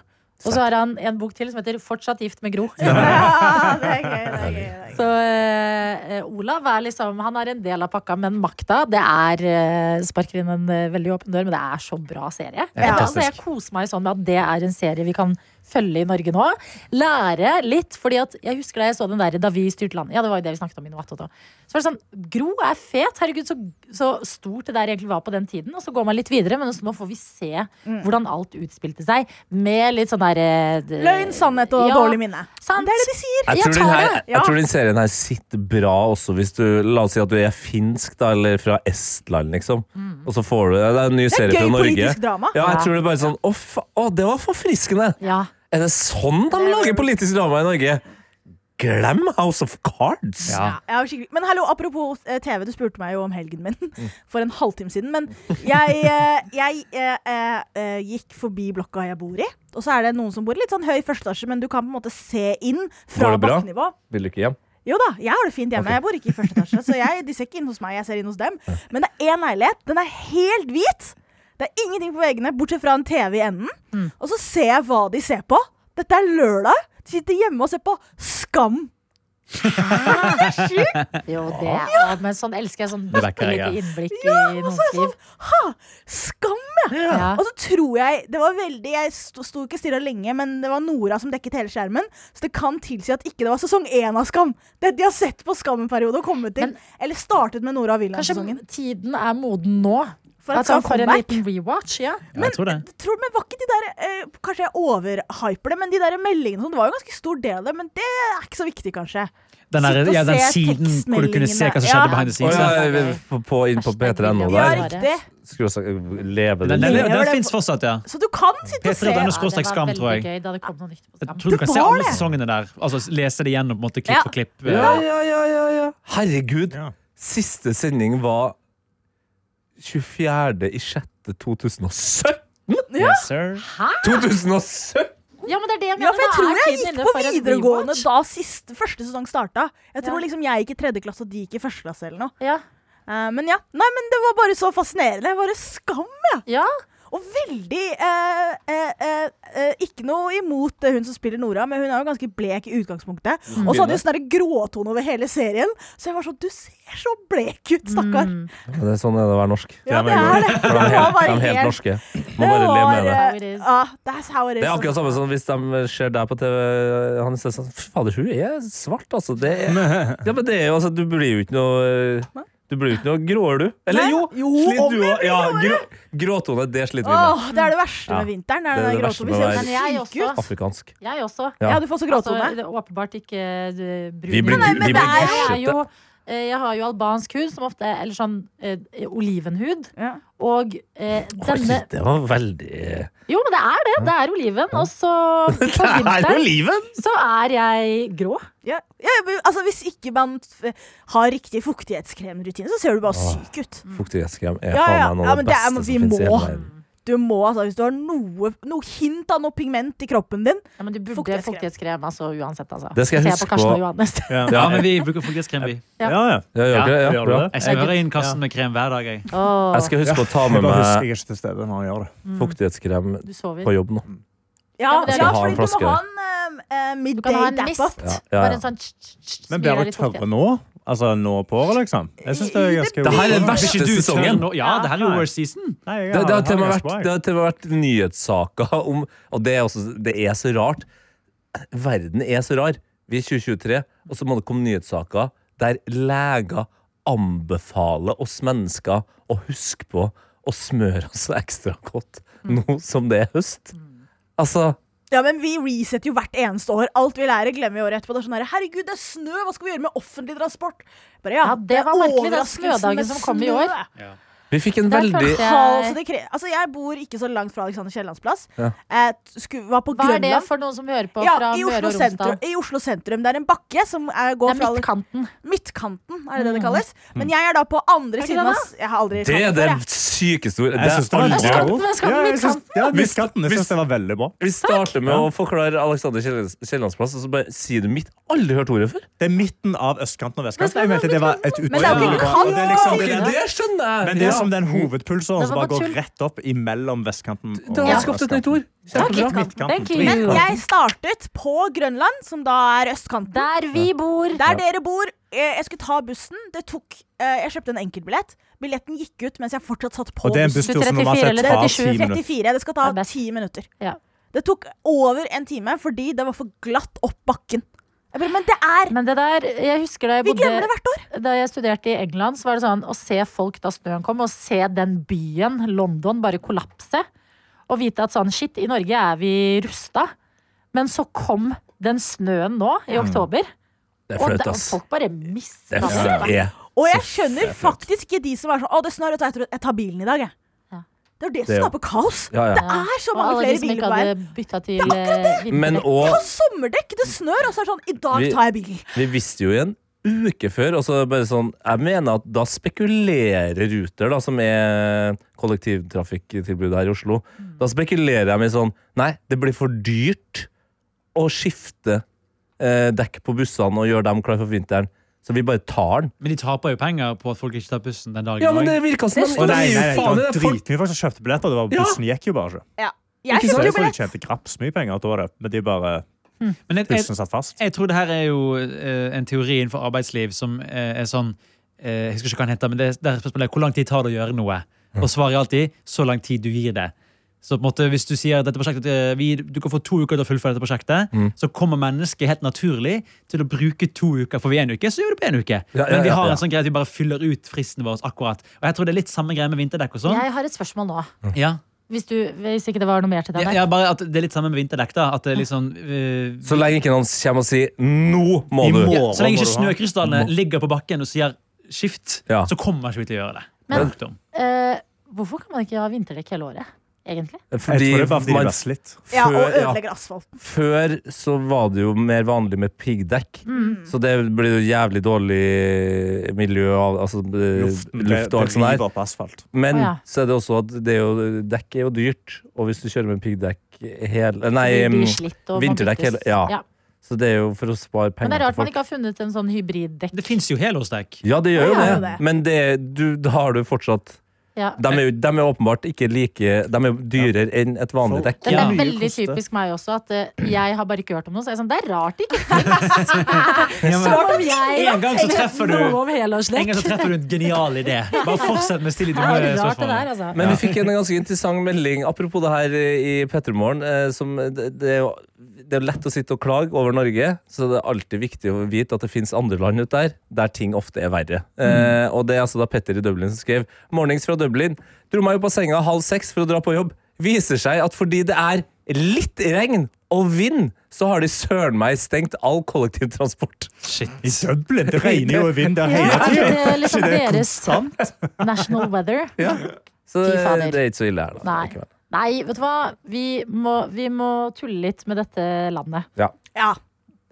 Speaker 3: Og så har han en bok til som heter 'Fortsatt gift med Gro'.
Speaker 2: Ja, det er gøy, det er gøy, det er gøy.
Speaker 3: Så eh, eh, Olav er liksom Han er en del av pakka, men makta Det er eh, sparker inn en eh, veldig åpen dør, men det er så bra serie.
Speaker 2: Ja.
Speaker 3: altså, jeg koser meg sånn med at det er en serie vi kan følge i Norge nå. Lære litt, fordi at jeg husker da jeg så den der da vi styrte landet. Ja, det var jo det vi snakket om i Noatot òg. Så var det sånn Gro er fet. Herregud, så, så stort det der egentlig var på den tiden. Og så går man litt videre, men også nå får vi se
Speaker 2: Mm.
Speaker 3: hvordan alt utspilte seg. Med litt sånn derre
Speaker 2: Løgn, sannhet og
Speaker 3: Ja.
Speaker 2: dårlig minne.
Speaker 3: Sant.
Speaker 2: Det er det de sier.
Speaker 7: Jeg
Speaker 3: Jeg
Speaker 7: tror, den
Speaker 3: tar
Speaker 7: her,
Speaker 3: det,
Speaker 2: ja.
Speaker 7: jeg tror den serien her sitter bra også hvis du La oss si at du er finsk da, eller fra Estland, liksom. Og så får du det. er en ny
Speaker 2: Det er
Speaker 7: serie fra
Speaker 2: gøy
Speaker 7: Norge.
Speaker 2: politisk drama.
Speaker 7: Ja, jeg tror det er bare sånn Å, fa å det var forfriskende!
Speaker 3: Ja.
Speaker 7: Er det sånn de lager politisk drama i Norge? glem House of Cards!
Speaker 6: Ja.
Speaker 2: Jeg var skikkelig- men hallo, apropos eh, TV, du spurte meg jo om helgen min
Speaker 7: Mm.
Speaker 2: for en halvtime siden. Men jeg, eh, jeg eh, eh, eh, gikk forbi blokka jeg bor i. Og så er det noen som bor i litt sånn høy førsteetasje, men du kan på en måte se inn fra
Speaker 7: Går det bra?
Speaker 2: bakkenivå.
Speaker 7: Vil du ikke hjem?
Speaker 2: Jo da, jeg har det fint hjemme. Jeg bor ikke i første etasje, så jeg, de ser ikke inn hos meg. Jeg ser inn hos dem. Men det er én leilighet. Den er helt hvit. Det er ingenting på veggene, bortsett fra en TV i enden.
Speaker 7: Mm.
Speaker 2: Og så ser jeg hva de ser på. Dette er lørdag. De sitter hjemme og ser på Skam. Det er sjukt!
Speaker 3: Jo, det ja. Men sånn elsker jeg sånn
Speaker 6: Det vekker
Speaker 3: bitte
Speaker 6: jeg,
Speaker 3: lite
Speaker 6: ja.
Speaker 3: innblikk i
Speaker 2: og
Speaker 3: noens
Speaker 2: så er det sånn-
Speaker 3: liv.
Speaker 2: Skam, ja!
Speaker 3: Ja.
Speaker 2: Og så tror jeg Det var veldig Jeg sto, sto ikke stille lenge, men det var Nora som dekket hele skjermen. Så det kan tilsi at ikke det var sesong én av Skam. Det de har sett på Skam en periode og kommet til.
Speaker 3: Men-
Speaker 2: eller startet med Nora og
Speaker 3: Kanskje
Speaker 2: William-sesongen.
Speaker 3: tiden er moden nå?
Speaker 2: For at
Speaker 3: at han
Speaker 2: Skam
Speaker 3: får en
Speaker 2: comeback.
Speaker 3: liten rewatch? Ja.
Speaker 6: Ja, jeg tror det.
Speaker 2: Tror, men var ikke de der eh, Kanskje jeg overhyper det, men de der meldingene og sånn, det var jo en ganske stor del av det. Men det er ikke så viktig, kanskje.
Speaker 6: Den, der,
Speaker 2: Sitte og
Speaker 6: ja, den
Speaker 2: se
Speaker 6: siden hvor du kunne se hva som
Speaker 2: tekstmeldingene.
Speaker 6: skjedde behind the
Speaker 7: Å
Speaker 6: scenes.
Speaker 7: ja,
Speaker 6: ja.
Speaker 7: vi- på, på, inn på
Speaker 3: Hashtag
Speaker 7: P3.no
Speaker 2: Ja,
Speaker 3: videoer.
Speaker 7: der.
Speaker 2: riktig.
Speaker 7: Skulle også eh, leve
Speaker 6: Den,
Speaker 7: det
Speaker 6: den,
Speaker 7: livet.
Speaker 6: den,
Speaker 2: Ja, det-
Speaker 6: finnes fortsatt, ja.
Speaker 2: Så du kan sitte og se.
Speaker 6: P3.no.
Speaker 3: Ja, det
Speaker 6: skråstrek
Speaker 3: var
Speaker 6: skam,
Speaker 3: veldig
Speaker 6: tror jeg.
Speaker 3: Gøy, da det kom noe nytt på
Speaker 6: Jeg
Speaker 3: skam.
Speaker 6: tror du kan se
Speaker 2: var
Speaker 6: alle
Speaker 2: det.
Speaker 6: sesongene der. Altså Lese det gjennom på en måte, klipp
Speaker 3: Ja.
Speaker 6: for klipp.
Speaker 7: Ja, ja, ja, ja, ja. Herregud.
Speaker 4: Ja.
Speaker 7: Siste sending var 24. i 6. 2017!
Speaker 6: Yes, sir.
Speaker 7: 2017!
Speaker 3: Ja, men det er det jeg mener.
Speaker 2: Ja, for jeg
Speaker 3: da
Speaker 2: tror
Speaker 3: er
Speaker 2: jeg
Speaker 3: tiden
Speaker 2: gikk
Speaker 3: inne
Speaker 2: på
Speaker 3: for en
Speaker 2: videregående
Speaker 3: rewatch.
Speaker 2: da siste, første sesong starta. Jeg tror
Speaker 3: Ja.
Speaker 2: liksom jeg gikk i tredje klasse, og de gikk i første klasse eller noe.
Speaker 3: Ja.
Speaker 2: Eh, men ja, nei, men det var bare så fascinerende. Bare skam, ja.
Speaker 3: ja.
Speaker 2: Og veldig eh, eh, eh, eh, Ikke noe imot eh, hun som spiller Nora, men hun er jo ganske blek i utgangspunktet.
Speaker 7: Mm.
Speaker 2: Og så hadde hun sånn der gråtone over hele serien, så jeg var sånn Du ser så blek ut, stakkar.
Speaker 7: Det er sånn er det å være norsk.
Speaker 2: Ja,
Speaker 4: Det
Speaker 2: det
Speaker 4: er
Speaker 2: er det.
Speaker 7: De er
Speaker 2: var
Speaker 7: helt,
Speaker 2: bare
Speaker 7: de er helt
Speaker 2: helt-
Speaker 7: norske. Må bare leve med
Speaker 2: eh,
Speaker 7: det.
Speaker 3: How it is.
Speaker 2: Ja, that's how it is.
Speaker 7: Det er akkurat samme som hvis de ser deg på TV Han ser sånn "Fy Fader, hun er svart, altså. Det er, ja, men det er jo, altså, du blir jo ikke noe Du blir jo ikke noe gråere, du. Eller
Speaker 2: Nei.
Speaker 7: jo!
Speaker 2: Jo,
Speaker 7: sliter
Speaker 2: om
Speaker 7: du
Speaker 2: jeg
Speaker 7: også- ja, grå, Gråtone, det sliter vi med.
Speaker 2: Åh, det er det verste
Speaker 7: Ja.
Speaker 2: med vinteren.
Speaker 7: Det er
Speaker 2: den
Speaker 7: det
Speaker 2: der
Speaker 7: verste
Speaker 2: gråtone.
Speaker 7: med
Speaker 2: Vi ser
Speaker 7: å
Speaker 3: Men jeg
Speaker 2: helt syke ut.
Speaker 3: også.
Speaker 7: Afrikansk.
Speaker 3: Jeg også.
Speaker 7: Ja.
Speaker 2: Ja, du får også gråtone.
Speaker 3: Altså, det er åpenbart ikke eh, brun.
Speaker 7: Vi
Speaker 2: Nei,
Speaker 7: blir-
Speaker 2: nei, men vi blir det
Speaker 7: er jo-
Speaker 3: Jeg er jo- eh, Jeg har jo albansk hud, som ofte er eller sånn eh, olivenhud.
Speaker 2: Ja.
Speaker 3: Og eh, denne
Speaker 7: Oi, det var veldig eh,
Speaker 3: Jo, men det er det! Det er oliven. Og så på vinteren
Speaker 7: livet!
Speaker 3: så er jeg grå.
Speaker 2: Ja, ja, men altså Hvis ikke man f- har riktig fuktighetskremrutine, så ser du bare syk ut.
Speaker 7: Fuktighetskrem er
Speaker 2: Mm. Ja, ja.
Speaker 7: faen meg noe
Speaker 2: Ja,
Speaker 7: av det
Speaker 2: men det er-
Speaker 7: beste som
Speaker 2: vi
Speaker 7: finnes i
Speaker 2: må.
Speaker 7: hele verden.
Speaker 2: Du må, altså, Hvis du har noe, noe hint av noe pigment i kroppen din
Speaker 3: Ja, men du burde
Speaker 2: Fuktighetskrem.
Speaker 3: fuktighetskrem, altså, uansett. Altså.
Speaker 7: Det skal jeg
Speaker 3: Ser
Speaker 7: huske
Speaker 3: på. Karsten
Speaker 7: på.
Speaker 3: og Johannes.
Speaker 4: Ja,
Speaker 6: Ja, men vi bruker faktisk krem, vi.
Speaker 3: Ja.
Speaker 4: ja, ja.
Speaker 7: Ja, gjør ikke det? Ja,
Speaker 4: gjør du
Speaker 7: bra.
Speaker 4: det?
Speaker 6: Jeg smører inn kassen med krem hver dag. Jeg.
Speaker 3: Åh,
Speaker 7: Jeg skal huske å ta
Speaker 4: Jeg
Speaker 7: med
Speaker 4: bare husker
Speaker 7: meg
Speaker 4: jeg er ikke til stede når jeg gjør det.
Speaker 7: fuktighetskrem
Speaker 3: du sover.
Speaker 7: på jobb nå.
Speaker 2: Ja,
Speaker 3: Ja, men det er
Speaker 2: ja
Speaker 7: lurt.
Speaker 2: fordi du
Speaker 7: Skal
Speaker 2: må
Speaker 7: ha
Speaker 2: ha en uh,
Speaker 3: Du kan ha
Speaker 2: midday
Speaker 3: en mist.
Speaker 2: dap-up.
Speaker 7: Ja, ja,
Speaker 3: Bare
Speaker 7: ja.
Speaker 3: en sånn tsk, tsk, tsk, som
Speaker 4: Men
Speaker 3: gir
Speaker 4: blir
Speaker 3: deg
Speaker 4: dere
Speaker 3: litt
Speaker 4: tørre
Speaker 3: fuktighet.
Speaker 4: nå? Altså nå på året, liksom? Jeg synes det er ganske
Speaker 7: Det her er den verste
Speaker 6: Ikke du
Speaker 7: sesongen.
Speaker 6: tørre nå? Ja, det her er jo worst season.
Speaker 4: Nei, jeg
Speaker 7: Det,
Speaker 4: har-
Speaker 7: det, har til og med
Speaker 4: jeg
Speaker 7: vært,
Speaker 4: har
Speaker 7: det har til og med vært nyhetssaker om Og det er, også, det er så rart. Verden er så rar. Vi er 2023, og så må det komme nyhetssaker der leger anbefaler oss mennesker å huske på å smøre oss ekstra godt
Speaker 4: Mm.
Speaker 7: nå som det er høst. Altså
Speaker 2: Ja, men vi resetter jo hvert eneste år. Alt vi lærer, glemmer vi året etterpå. Det er sånn her, Herregud, det er snø! Hva skal vi gjøre med offentlig transport? Bare, ja,
Speaker 3: Ja, det var merkelig, den
Speaker 2: overraskelsen
Speaker 3: snødagen
Speaker 2: med
Speaker 3: som kom i år.
Speaker 2: snø.
Speaker 7: Vi fikk en
Speaker 3: Der
Speaker 7: veldig
Speaker 3: følte jeg-
Speaker 2: Kaos, og det kre- altså, jeg bor ikke så langt fra Alexander Kiellands plass.
Speaker 7: Ja.
Speaker 2: Jeg sku- var på
Speaker 3: Hva er det
Speaker 2: Grønland.
Speaker 3: for noen som hører på
Speaker 2: Ja,
Speaker 3: fra
Speaker 2: i Oslo,
Speaker 3: Møre og Romsdal?
Speaker 2: sentrum, I Oslo sentrum. Det er en bakke som er, går
Speaker 3: Det er
Speaker 2: fra
Speaker 3: midtkanten.
Speaker 2: midtkanten, er det det det kalles? Men jeg er da på andre
Speaker 3: ikke
Speaker 2: siden
Speaker 3: det
Speaker 2: av s- Jeg har aldri
Speaker 7: Mm. Det er
Speaker 2: kalt
Speaker 7: det
Speaker 2: det, jeg.
Speaker 7: sykeste ordet.
Speaker 4: Jeg synes det var
Speaker 7: aldri-
Speaker 4: veldig
Speaker 3: Skalpen,
Speaker 4: godt.
Speaker 3: skalpen,
Speaker 4: Ja, jeg synes-
Speaker 3: midtkanten.
Speaker 4: Ja, midtkanten. Jeg synes det var veldig bra.
Speaker 7: Vi starter med å forklare Alexander Kiellands- Kiellands plass, og så bare sier du mitt. Aldri hørt ordet før.
Speaker 4: Det er midten av østkanten og vestkanten. Jeg mente det var et uttrykk.
Speaker 2: Men det er jo ikke
Speaker 4: Ja.
Speaker 2: kant.
Speaker 4: Og det er liksom- det er den-
Speaker 7: Det skjønner jeg!
Speaker 4: Men det er som den hovedpulsåren
Speaker 3: Det
Speaker 4: som
Speaker 3: var
Speaker 4: bare
Speaker 3: bare tull.
Speaker 4: går rett opp imellom vestkanten og
Speaker 7: Da har
Speaker 3: Ja.
Speaker 7: jeg skapt et nytt ord. Kjempebra.
Speaker 4: Midtkanten.
Speaker 3: Thank you.
Speaker 4: Midtkanten.
Speaker 3: Men
Speaker 2: Jeg startet på Grønland, som da er østkanten.
Speaker 3: Der vi bor.
Speaker 2: Der dere bor. eh, Jeg skulle ta bussen. Det tok eh, Jeg kjøpte en enkeltbillett. Billetten gikk ut mens jeg fortsatt satt på
Speaker 4: Og det er en
Speaker 2: bussen.
Speaker 4: busstur som normalt
Speaker 3: 34
Speaker 4: sett
Speaker 3: eller
Speaker 4: tar
Speaker 3: 37,
Speaker 4: ti minutter.
Speaker 2: 34. Det skal
Speaker 3: Det
Speaker 2: ta
Speaker 3: er best.
Speaker 2: ti minutter.
Speaker 3: Ja.
Speaker 2: Det tok over en time fordi det var for glatt opp bakken. Jeg bare, men det er
Speaker 3: Men det der, jeg husker da jeg,
Speaker 2: Vi glemmer det
Speaker 3: bodde,
Speaker 2: hvert år.
Speaker 3: da jeg studerte i England, så var det sånn å se folk da snøen kom, og se den byen, London, bare kollapse. Og vite at sånn, shit, i Norge er vi rusta. Men så kom den snøen nå, i oktober.
Speaker 7: Mm. Det
Speaker 3: Og da, folk bare mista
Speaker 7: Det er flaut.
Speaker 3: det.
Speaker 7: Ja.
Speaker 2: Og jeg
Speaker 7: Så
Speaker 2: skjønner
Speaker 7: fett.
Speaker 2: faktisk ikke de som er sånn Å, det snør, vet du, jeg tror jeg tar bilen i dag, jeg.
Speaker 3: Ja.
Speaker 2: Det er jo det
Speaker 7: Det er
Speaker 2: som
Speaker 7: jo-
Speaker 2: skaper kaos.
Speaker 7: Ja, ja.
Speaker 2: Det er så
Speaker 3: Og
Speaker 2: mange
Speaker 3: alle de
Speaker 2: flere
Speaker 3: som
Speaker 2: biler
Speaker 3: ikke
Speaker 2: på
Speaker 3: hadde
Speaker 2: veien.
Speaker 3: bytta til eh,
Speaker 7: Men
Speaker 3: vinterdekk.
Speaker 2: Jeg
Speaker 7: òg
Speaker 2: har sommerdekk, det snør, og så er det sånn I dag
Speaker 7: Vi-
Speaker 2: tar jeg bilen.
Speaker 7: Vi visste jo i en uke før, og så er det bare sånn Jeg mener at da spekulerer Ruter, da, som er kollektivtrafikktilbudet her i Oslo, da spekulerer de i sånn Nei, det blir for dyrt å skifte eh, dekk på bussene og gjøre dem klare for vinteren. Så vi bare tar den.
Speaker 6: Men de taper jo penger på at folk ikke tar bussen den dagen.
Speaker 7: Ja, men
Speaker 6: også.
Speaker 7: det virka som
Speaker 4: Å,
Speaker 7: de-
Speaker 4: nei, nei, nei,
Speaker 7: Faen,
Speaker 4: det var
Speaker 7: er folk-
Speaker 4: dritmye folk som kjøpte billetter. Det var,
Speaker 7: Ja.
Speaker 4: bussen gikk jo bare
Speaker 2: Jeg
Speaker 4: ikke. Så
Speaker 2: kjøpte
Speaker 4: jeg
Speaker 2: jo
Speaker 4: tror de
Speaker 2: billett.
Speaker 4: tjente graps mye penger til året, men de bare
Speaker 6: Men jeg, jeg,
Speaker 4: bussen satt fast.
Speaker 6: jeg tror det her er jo eh, en teori innenfor arbeidsliv som eh, er sånn eh, Jeg husker ikke hva den heter, men det, det er spørsmålet er hvor lang tid tar det å gjøre noe. Og svaret er alltid så lang tid du gir det. Så på en måte, hvis du sier at dette prosjektet, eh, vi, du kan få to uker til å fullføre dette prosjektet,
Speaker 7: Mm.
Speaker 6: så kommer mennesket helt naturlig til å bruke to uker. For vi er en uke, så gjør du på en uke.
Speaker 7: Ja, ja,
Speaker 6: Men vi
Speaker 7: ja,
Speaker 6: har
Speaker 7: ja.
Speaker 6: en sånn greie at vi bare fyller ut fristen vår akkurat. Og jeg tror det er litt samme greie med vinterdekk og sånn.
Speaker 3: Jeg har et spørsmål nå.
Speaker 6: Ja.
Speaker 3: Hvis, du, hvis ikke det var noe mer til deg
Speaker 6: Ja,
Speaker 3: der.
Speaker 6: ja, bare at det er litt samme med vinterdekk. da At det er litt sånn eh,
Speaker 7: Så lenge ikke noen kommer og sier 'nå må du'.
Speaker 4: I morgen.
Speaker 6: ja, Så lenge ikke
Speaker 4: må du ha.
Speaker 6: snøkrystallene ligger på bakken og sier skift,
Speaker 7: Ja.
Speaker 6: så kommer ikke vi til å gjøre det.
Speaker 3: Men-
Speaker 6: Punktum.
Speaker 3: Eh, hvorfor kan man ikke ha vinterdekk hele året? Egentlig?
Speaker 4: Jeg tror det er bare fordi de
Speaker 7: man-
Speaker 4: vesler litt.
Speaker 2: Ja, og
Speaker 7: før- ja.
Speaker 2: ødelegger asfalt.
Speaker 7: Før så var det jo mer vanlig med piggdekk,
Speaker 3: Mm.
Speaker 7: så det ble jo jævlig dårlig miljø, av- altså eh,
Speaker 4: Luften ble-
Speaker 7: luft og alt
Speaker 4: ble
Speaker 7: sånt der.
Speaker 4: rivet på asfalt.
Speaker 7: Men
Speaker 3: Å, ja.
Speaker 7: så er det også at det er jo, dekk er jo dyrt, og hvis du kjører med piggdekk hele Nei,
Speaker 3: Det
Speaker 7: em,
Speaker 3: blir slitt, og man
Speaker 7: vinterdekk hele
Speaker 3: byttes.
Speaker 7: Ja.
Speaker 3: Ja.
Speaker 7: Så det er jo for å spare penger.
Speaker 3: Men det er rart
Speaker 7: til
Speaker 3: man
Speaker 7: folk.
Speaker 3: ikke har funnet en sånn hybriddekk.
Speaker 6: Det fins jo helårsdekk.
Speaker 7: Ja, det
Speaker 2: Ja,
Speaker 7: gjør jo
Speaker 2: det er
Speaker 7: det,
Speaker 2: jo det.
Speaker 7: men det, du, da har du fortsatt
Speaker 3: Ja.
Speaker 7: de er, jo, de er åpenbart ikke like De er dyrere enn et vanlig dekk.
Speaker 3: Det
Speaker 6: Ja.
Speaker 3: er veldig
Speaker 4: Mye koste.
Speaker 3: typisk meg også at eh, jeg har bare ikke hørt om noe. Så er jeg sånn, det er rart det ikke
Speaker 6: En
Speaker 3: om jeg
Speaker 6: En gang så treffer du-
Speaker 3: noe om helårsdekk.
Speaker 6: gang så treffer du en genial idé. Bare fortsett med å stille
Speaker 3: Det
Speaker 6: dumme
Speaker 3: er rart det der,
Speaker 6: spørsmål.
Speaker 3: altså.
Speaker 7: Men vi fikk en ganske interessant melding Apropos det her eh, i Pettermorgen eh, som det, det, er jo- det er jo lett å sitte og klage over Norge Så det er alltid viktig å vite at det finnes andre land ut der Der ting ofte er verre eh,
Speaker 3: Mm.
Speaker 7: Og det er altså da Petter i Dublin som skrev Mornings fra Dublin Dro meg jo på senga halv seks for å dra på jobb Viser seg at fordi det er litt regn og vind Så har de søren meg stengt all kollektivtransport
Speaker 4: I Dublin! Det regner jo i vind der
Speaker 3: Ja,
Speaker 4: hele
Speaker 3: at
Speaker 4: tida.
Speaker 3: det er liksom
Speaker 4: Ikke det
Speaker 3: deres national weather.
Speaker 7: Så eh,
Speaker 3: Fy fader.
Speaker 7: det er ikke så ille her da
Speaker 3: Nei.
Speaker 7: likevel.
Speaker 3: Nei, vet du hva? Vi må, vi må tulle litt med dette landet.
Speaker 2: Ja.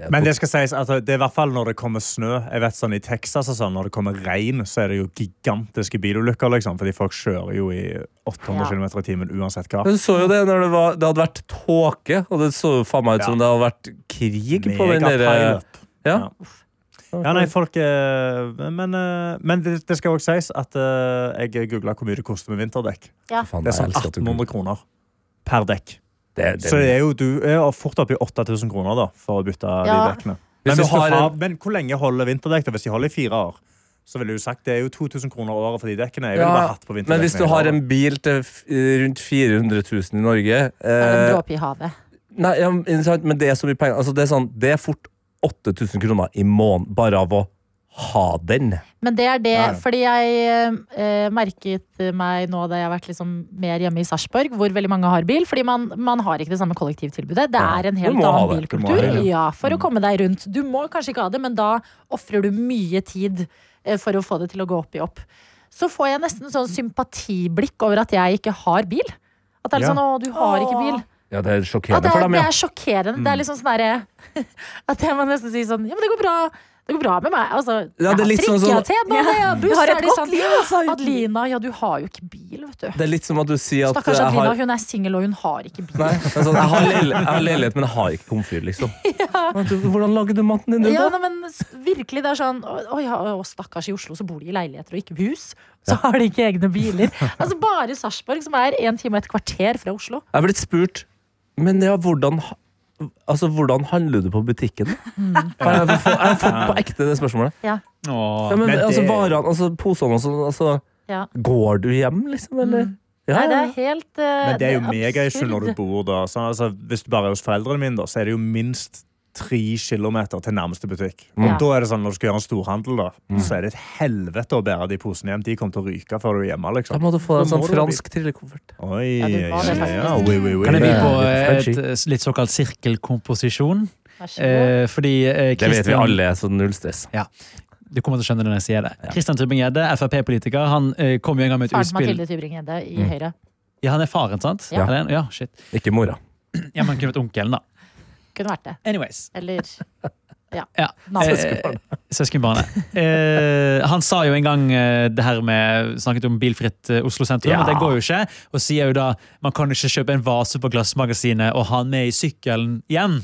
Speaker 7: Det er
Speaker 4: Men det skal sies at det er i hvert fall når det kommer snø. Jeg vet sånn I Texas og sånn, når det kommer regn, så er det jo gigantiske bilulykker. liksom, Fordi folk kjører jo i 800
Speaker 3: Ja.
Speaker 4: km i timen uansett hva.
Speaker 7: Men Du så jo det når det, var, det hadde vært tåke, og det så jo faen meg ut som det hadde vært krig på den der eh,
Speaker 4: Megapileup.
Speaker 7: ja.
Speaker 4: Ja, nei, folk eh, Men, eh, men det, det skal òg sies at eh, jeg googla hvor mye det koster med vinterdekk.
Speaker 7: Faen,
Speaker 4: Det er
Speaker 7: jeg
Speaker 4: sånn
Speaker 7: elsker at du-
Speaker 4: 1800 kroner per dekk.
Speaker 7: Det- det-
Speaker 4: Så det er jo du er jo fort oppe i 8000 kroner da, for å bytte
Speaker 3: Ja.
Speaker 4: de dekkene.
Speaker 7: Hvis
Speaker 4: Men,
Speaker 7: du
Speaker 4: hvis du
Speaker 7: har
Speaker 4: har,
Speaker 7: en-
Speaker 4: men hvor lenge holder vinterdekk? da? Hvis de holder i fire år, så ville du sagt det er jo 2000 kroner året for de dekkene. Jeg ville bare
Speaker 7: ja.
Speaker 4: hatt på
Speaker 7: Men hvis du
Speaker 4: vinterdekkene
Speaker 7: har
Speaker 4: hele året.
Speaker 7: en bil til f- eh, rundt 400 000 i Norge
Speaker 3: Det er en
Speaker 7: eh,
Speaker 3: dråpe i havet.
Speaker 7: Nei, ja, men sant, men det er så mye penger. Altså, det, er sånn, det er fort 8000 kroner i måneden bare av å ha den.
Speaker 3: Men det er det,
Speaker 4: Ja, ja.
Speaker 3: fordi jeg eh, merket meg nå da jeg har vært liksom mer hjemme i Sarpsborg, hvor veldig mange har bil, fordi man, man har ikke det samme kollektivtilbudet. Det er en
Speaker 7: Du
Speaker 3: helt
Speaker 7: må ha
Speaker 3: annen
Speaker 7: det. Mm. Du må
Speaker 3: bilkultur.
Speaker 4: ha det,
Speaker 3: Ja, for å komme deg rundt. Du må kanskje ikke ha det, men da ofrer du mye tid eh, for å få det til å gå opp i opp. Så får jeg nesten sånn sympatiblikk over at jeg ikke har bil. At det er litt
Speaker 4: Ja.
Speaker 3: sånn, å, du har ikke bil.
Speaker 7: Ja, det er
Speaker 3: Ja,
Speaker 7: sjokkerende
Speaker 3: det
Speaker 7: for
Speaker 3: er,
Speaker 7: dem,
Speaker 3: det
Speaker 7: ja. Mm.
Speaker 3: er sjokkerende. Det er liksom sånn derre At jeg må nesten si sånn Ja, men det går bra. Det går bra med meg. Altså,
Speaker 7: Ja, det er
Speaker 3: jeg har
Speaker 7: litt sånn
Speaker 3: trikk, jeg har
Speaker 7: som-
Speaker 3: T-bane, jeg har buss.
Speaker 2: Jeg har
Speaker 3: så er
Speaker 2: et
Speaker 3: de
Speaker 2: godt
Speaker 3: sånn,
Speaker 2: liv, altså. uten-
Speaker 3: Adelina, ja, du har jo ikke bil, vet du.
Speaker 7: Det er litt som at du sier at
Speaker 3: Stakkars
Speaker 7: jeg
Speaker 3: Adelina,
Speaker 7: har,
Speaker 3: hun er singel og hun har ikke bil.
Speaker 7: Nei, det er sånn, jeg, har leil- jeg har leilighet, men jeg har ikke komfyr, liksom. Men du, Hvordan lager du maten din, du,
Speaker 3: Ja,
Speaker 7: da?
Speaker 3: nei, men s- virkelig, det er sånn Å, å ja, å, stakkars, i Oslo så bor de i leiligheter og ikke hus. Så har de ikke egne biler. Altså Bare Sarpsborg, som er en time og et kvarter fra Oslo.
Speaker 7: Jeg er blitt spurt Men ja, hvordan ha- Altså, hvordan handler du på butikken?
Speaker 3: Mm.
Speaker 7: Har jeg, fått, jeg har fått på ekte det spørsmålet. Ja,
Speaker 6: Åh.
Speaker 7: men,
Speaker 4: men det-
Speaker 7: altså, varene, altså, posene og sånn altså,
Speaker 3: Ja. Mm.
Speaker 7: Går du hjem, liksom? Eller? Ja,
Speaker 3: Nei, det
Speaker 7: ja.
Speaker 3: er helt uh,
Speaker 4: Men det er jo megaissue når du bor da. Så, altså, hvis du bare er hos foreldrene mine, da, så er det jo minst tre kilometer til nærmeste butikk. Og
Speaker 3: Ja.
Speaker 4: da er det sånn, Når du skal gjøre en storhandel, da, så er det et helvete å bære de posene hjem. De kommer til å ryke før du er hjemme.
Speaker 7: Da
Speaker 4: liksom.
Speaker 7: må du få deg en
Speaker 4: Da
Speaker 7: sånn
Speaker 4: må du ha bil.
Speaker 7: fransk trillekoffert.
Speaker 4: Oi,
Speaker 3: Ja,
Speaker 4: ja,
Speaker 3: du
Speaker 4: ja,
Speaker 3: var det
Speaker 4: ja.
Speaker 3: faktisk.
Speaker 4: Oui, oui, oui.
Speaker 6: Kan jeg by
Speaker 7: Det-
Speaker 6: på
Speaker 7: det er
Speaker 6: eh,
Speaker 7: litt
Speaker 6: et eh, litt såkalt sirkelkomposisjon?
Speaker 3: bor.
Speaker 6: Eh, fordi eh, Christian-
Speaker 7: så
Speaker 4: sånn
Speaker 7: null stress.
Speaker 6: Du kommer til å skjønne det når jeg sier det. Kristian Tybring-Gjedde, Frp-politiker, han eh, kom jo en gang med et
Speaker 3: Faren til
Speaker 6: utspill
Speaker 7: Mm.
Speaker 3: Mathilde Tybring-Gjedde i Høyre.
Speaker 6: Ja, han er faren, sant?
Speaker 3: Ja.
Speaker 6: Eller, ja shit.
Speaker 7: Ikke mora.
Speaker 6: Ja, men kunne vært onkelen, da.
Speaker 3: Kunne vært det.
Speaker 6: Anyways.
Speaker 3: Eller
Speaker 6: Ja.
Speaker 3: Navn.
Speaker 6: Eh, Søskenbarnet. Eh, han sa jo en gang eh, det her med Snakket om bilfritt eh, Oslo sentrum,
Speaker 7: Ja.
Speaker 6: og det går jo ikke. Og sier jo da man kan ikke kjøpe en vase på Glassmagasinet og ha den med i sykkelen hjem.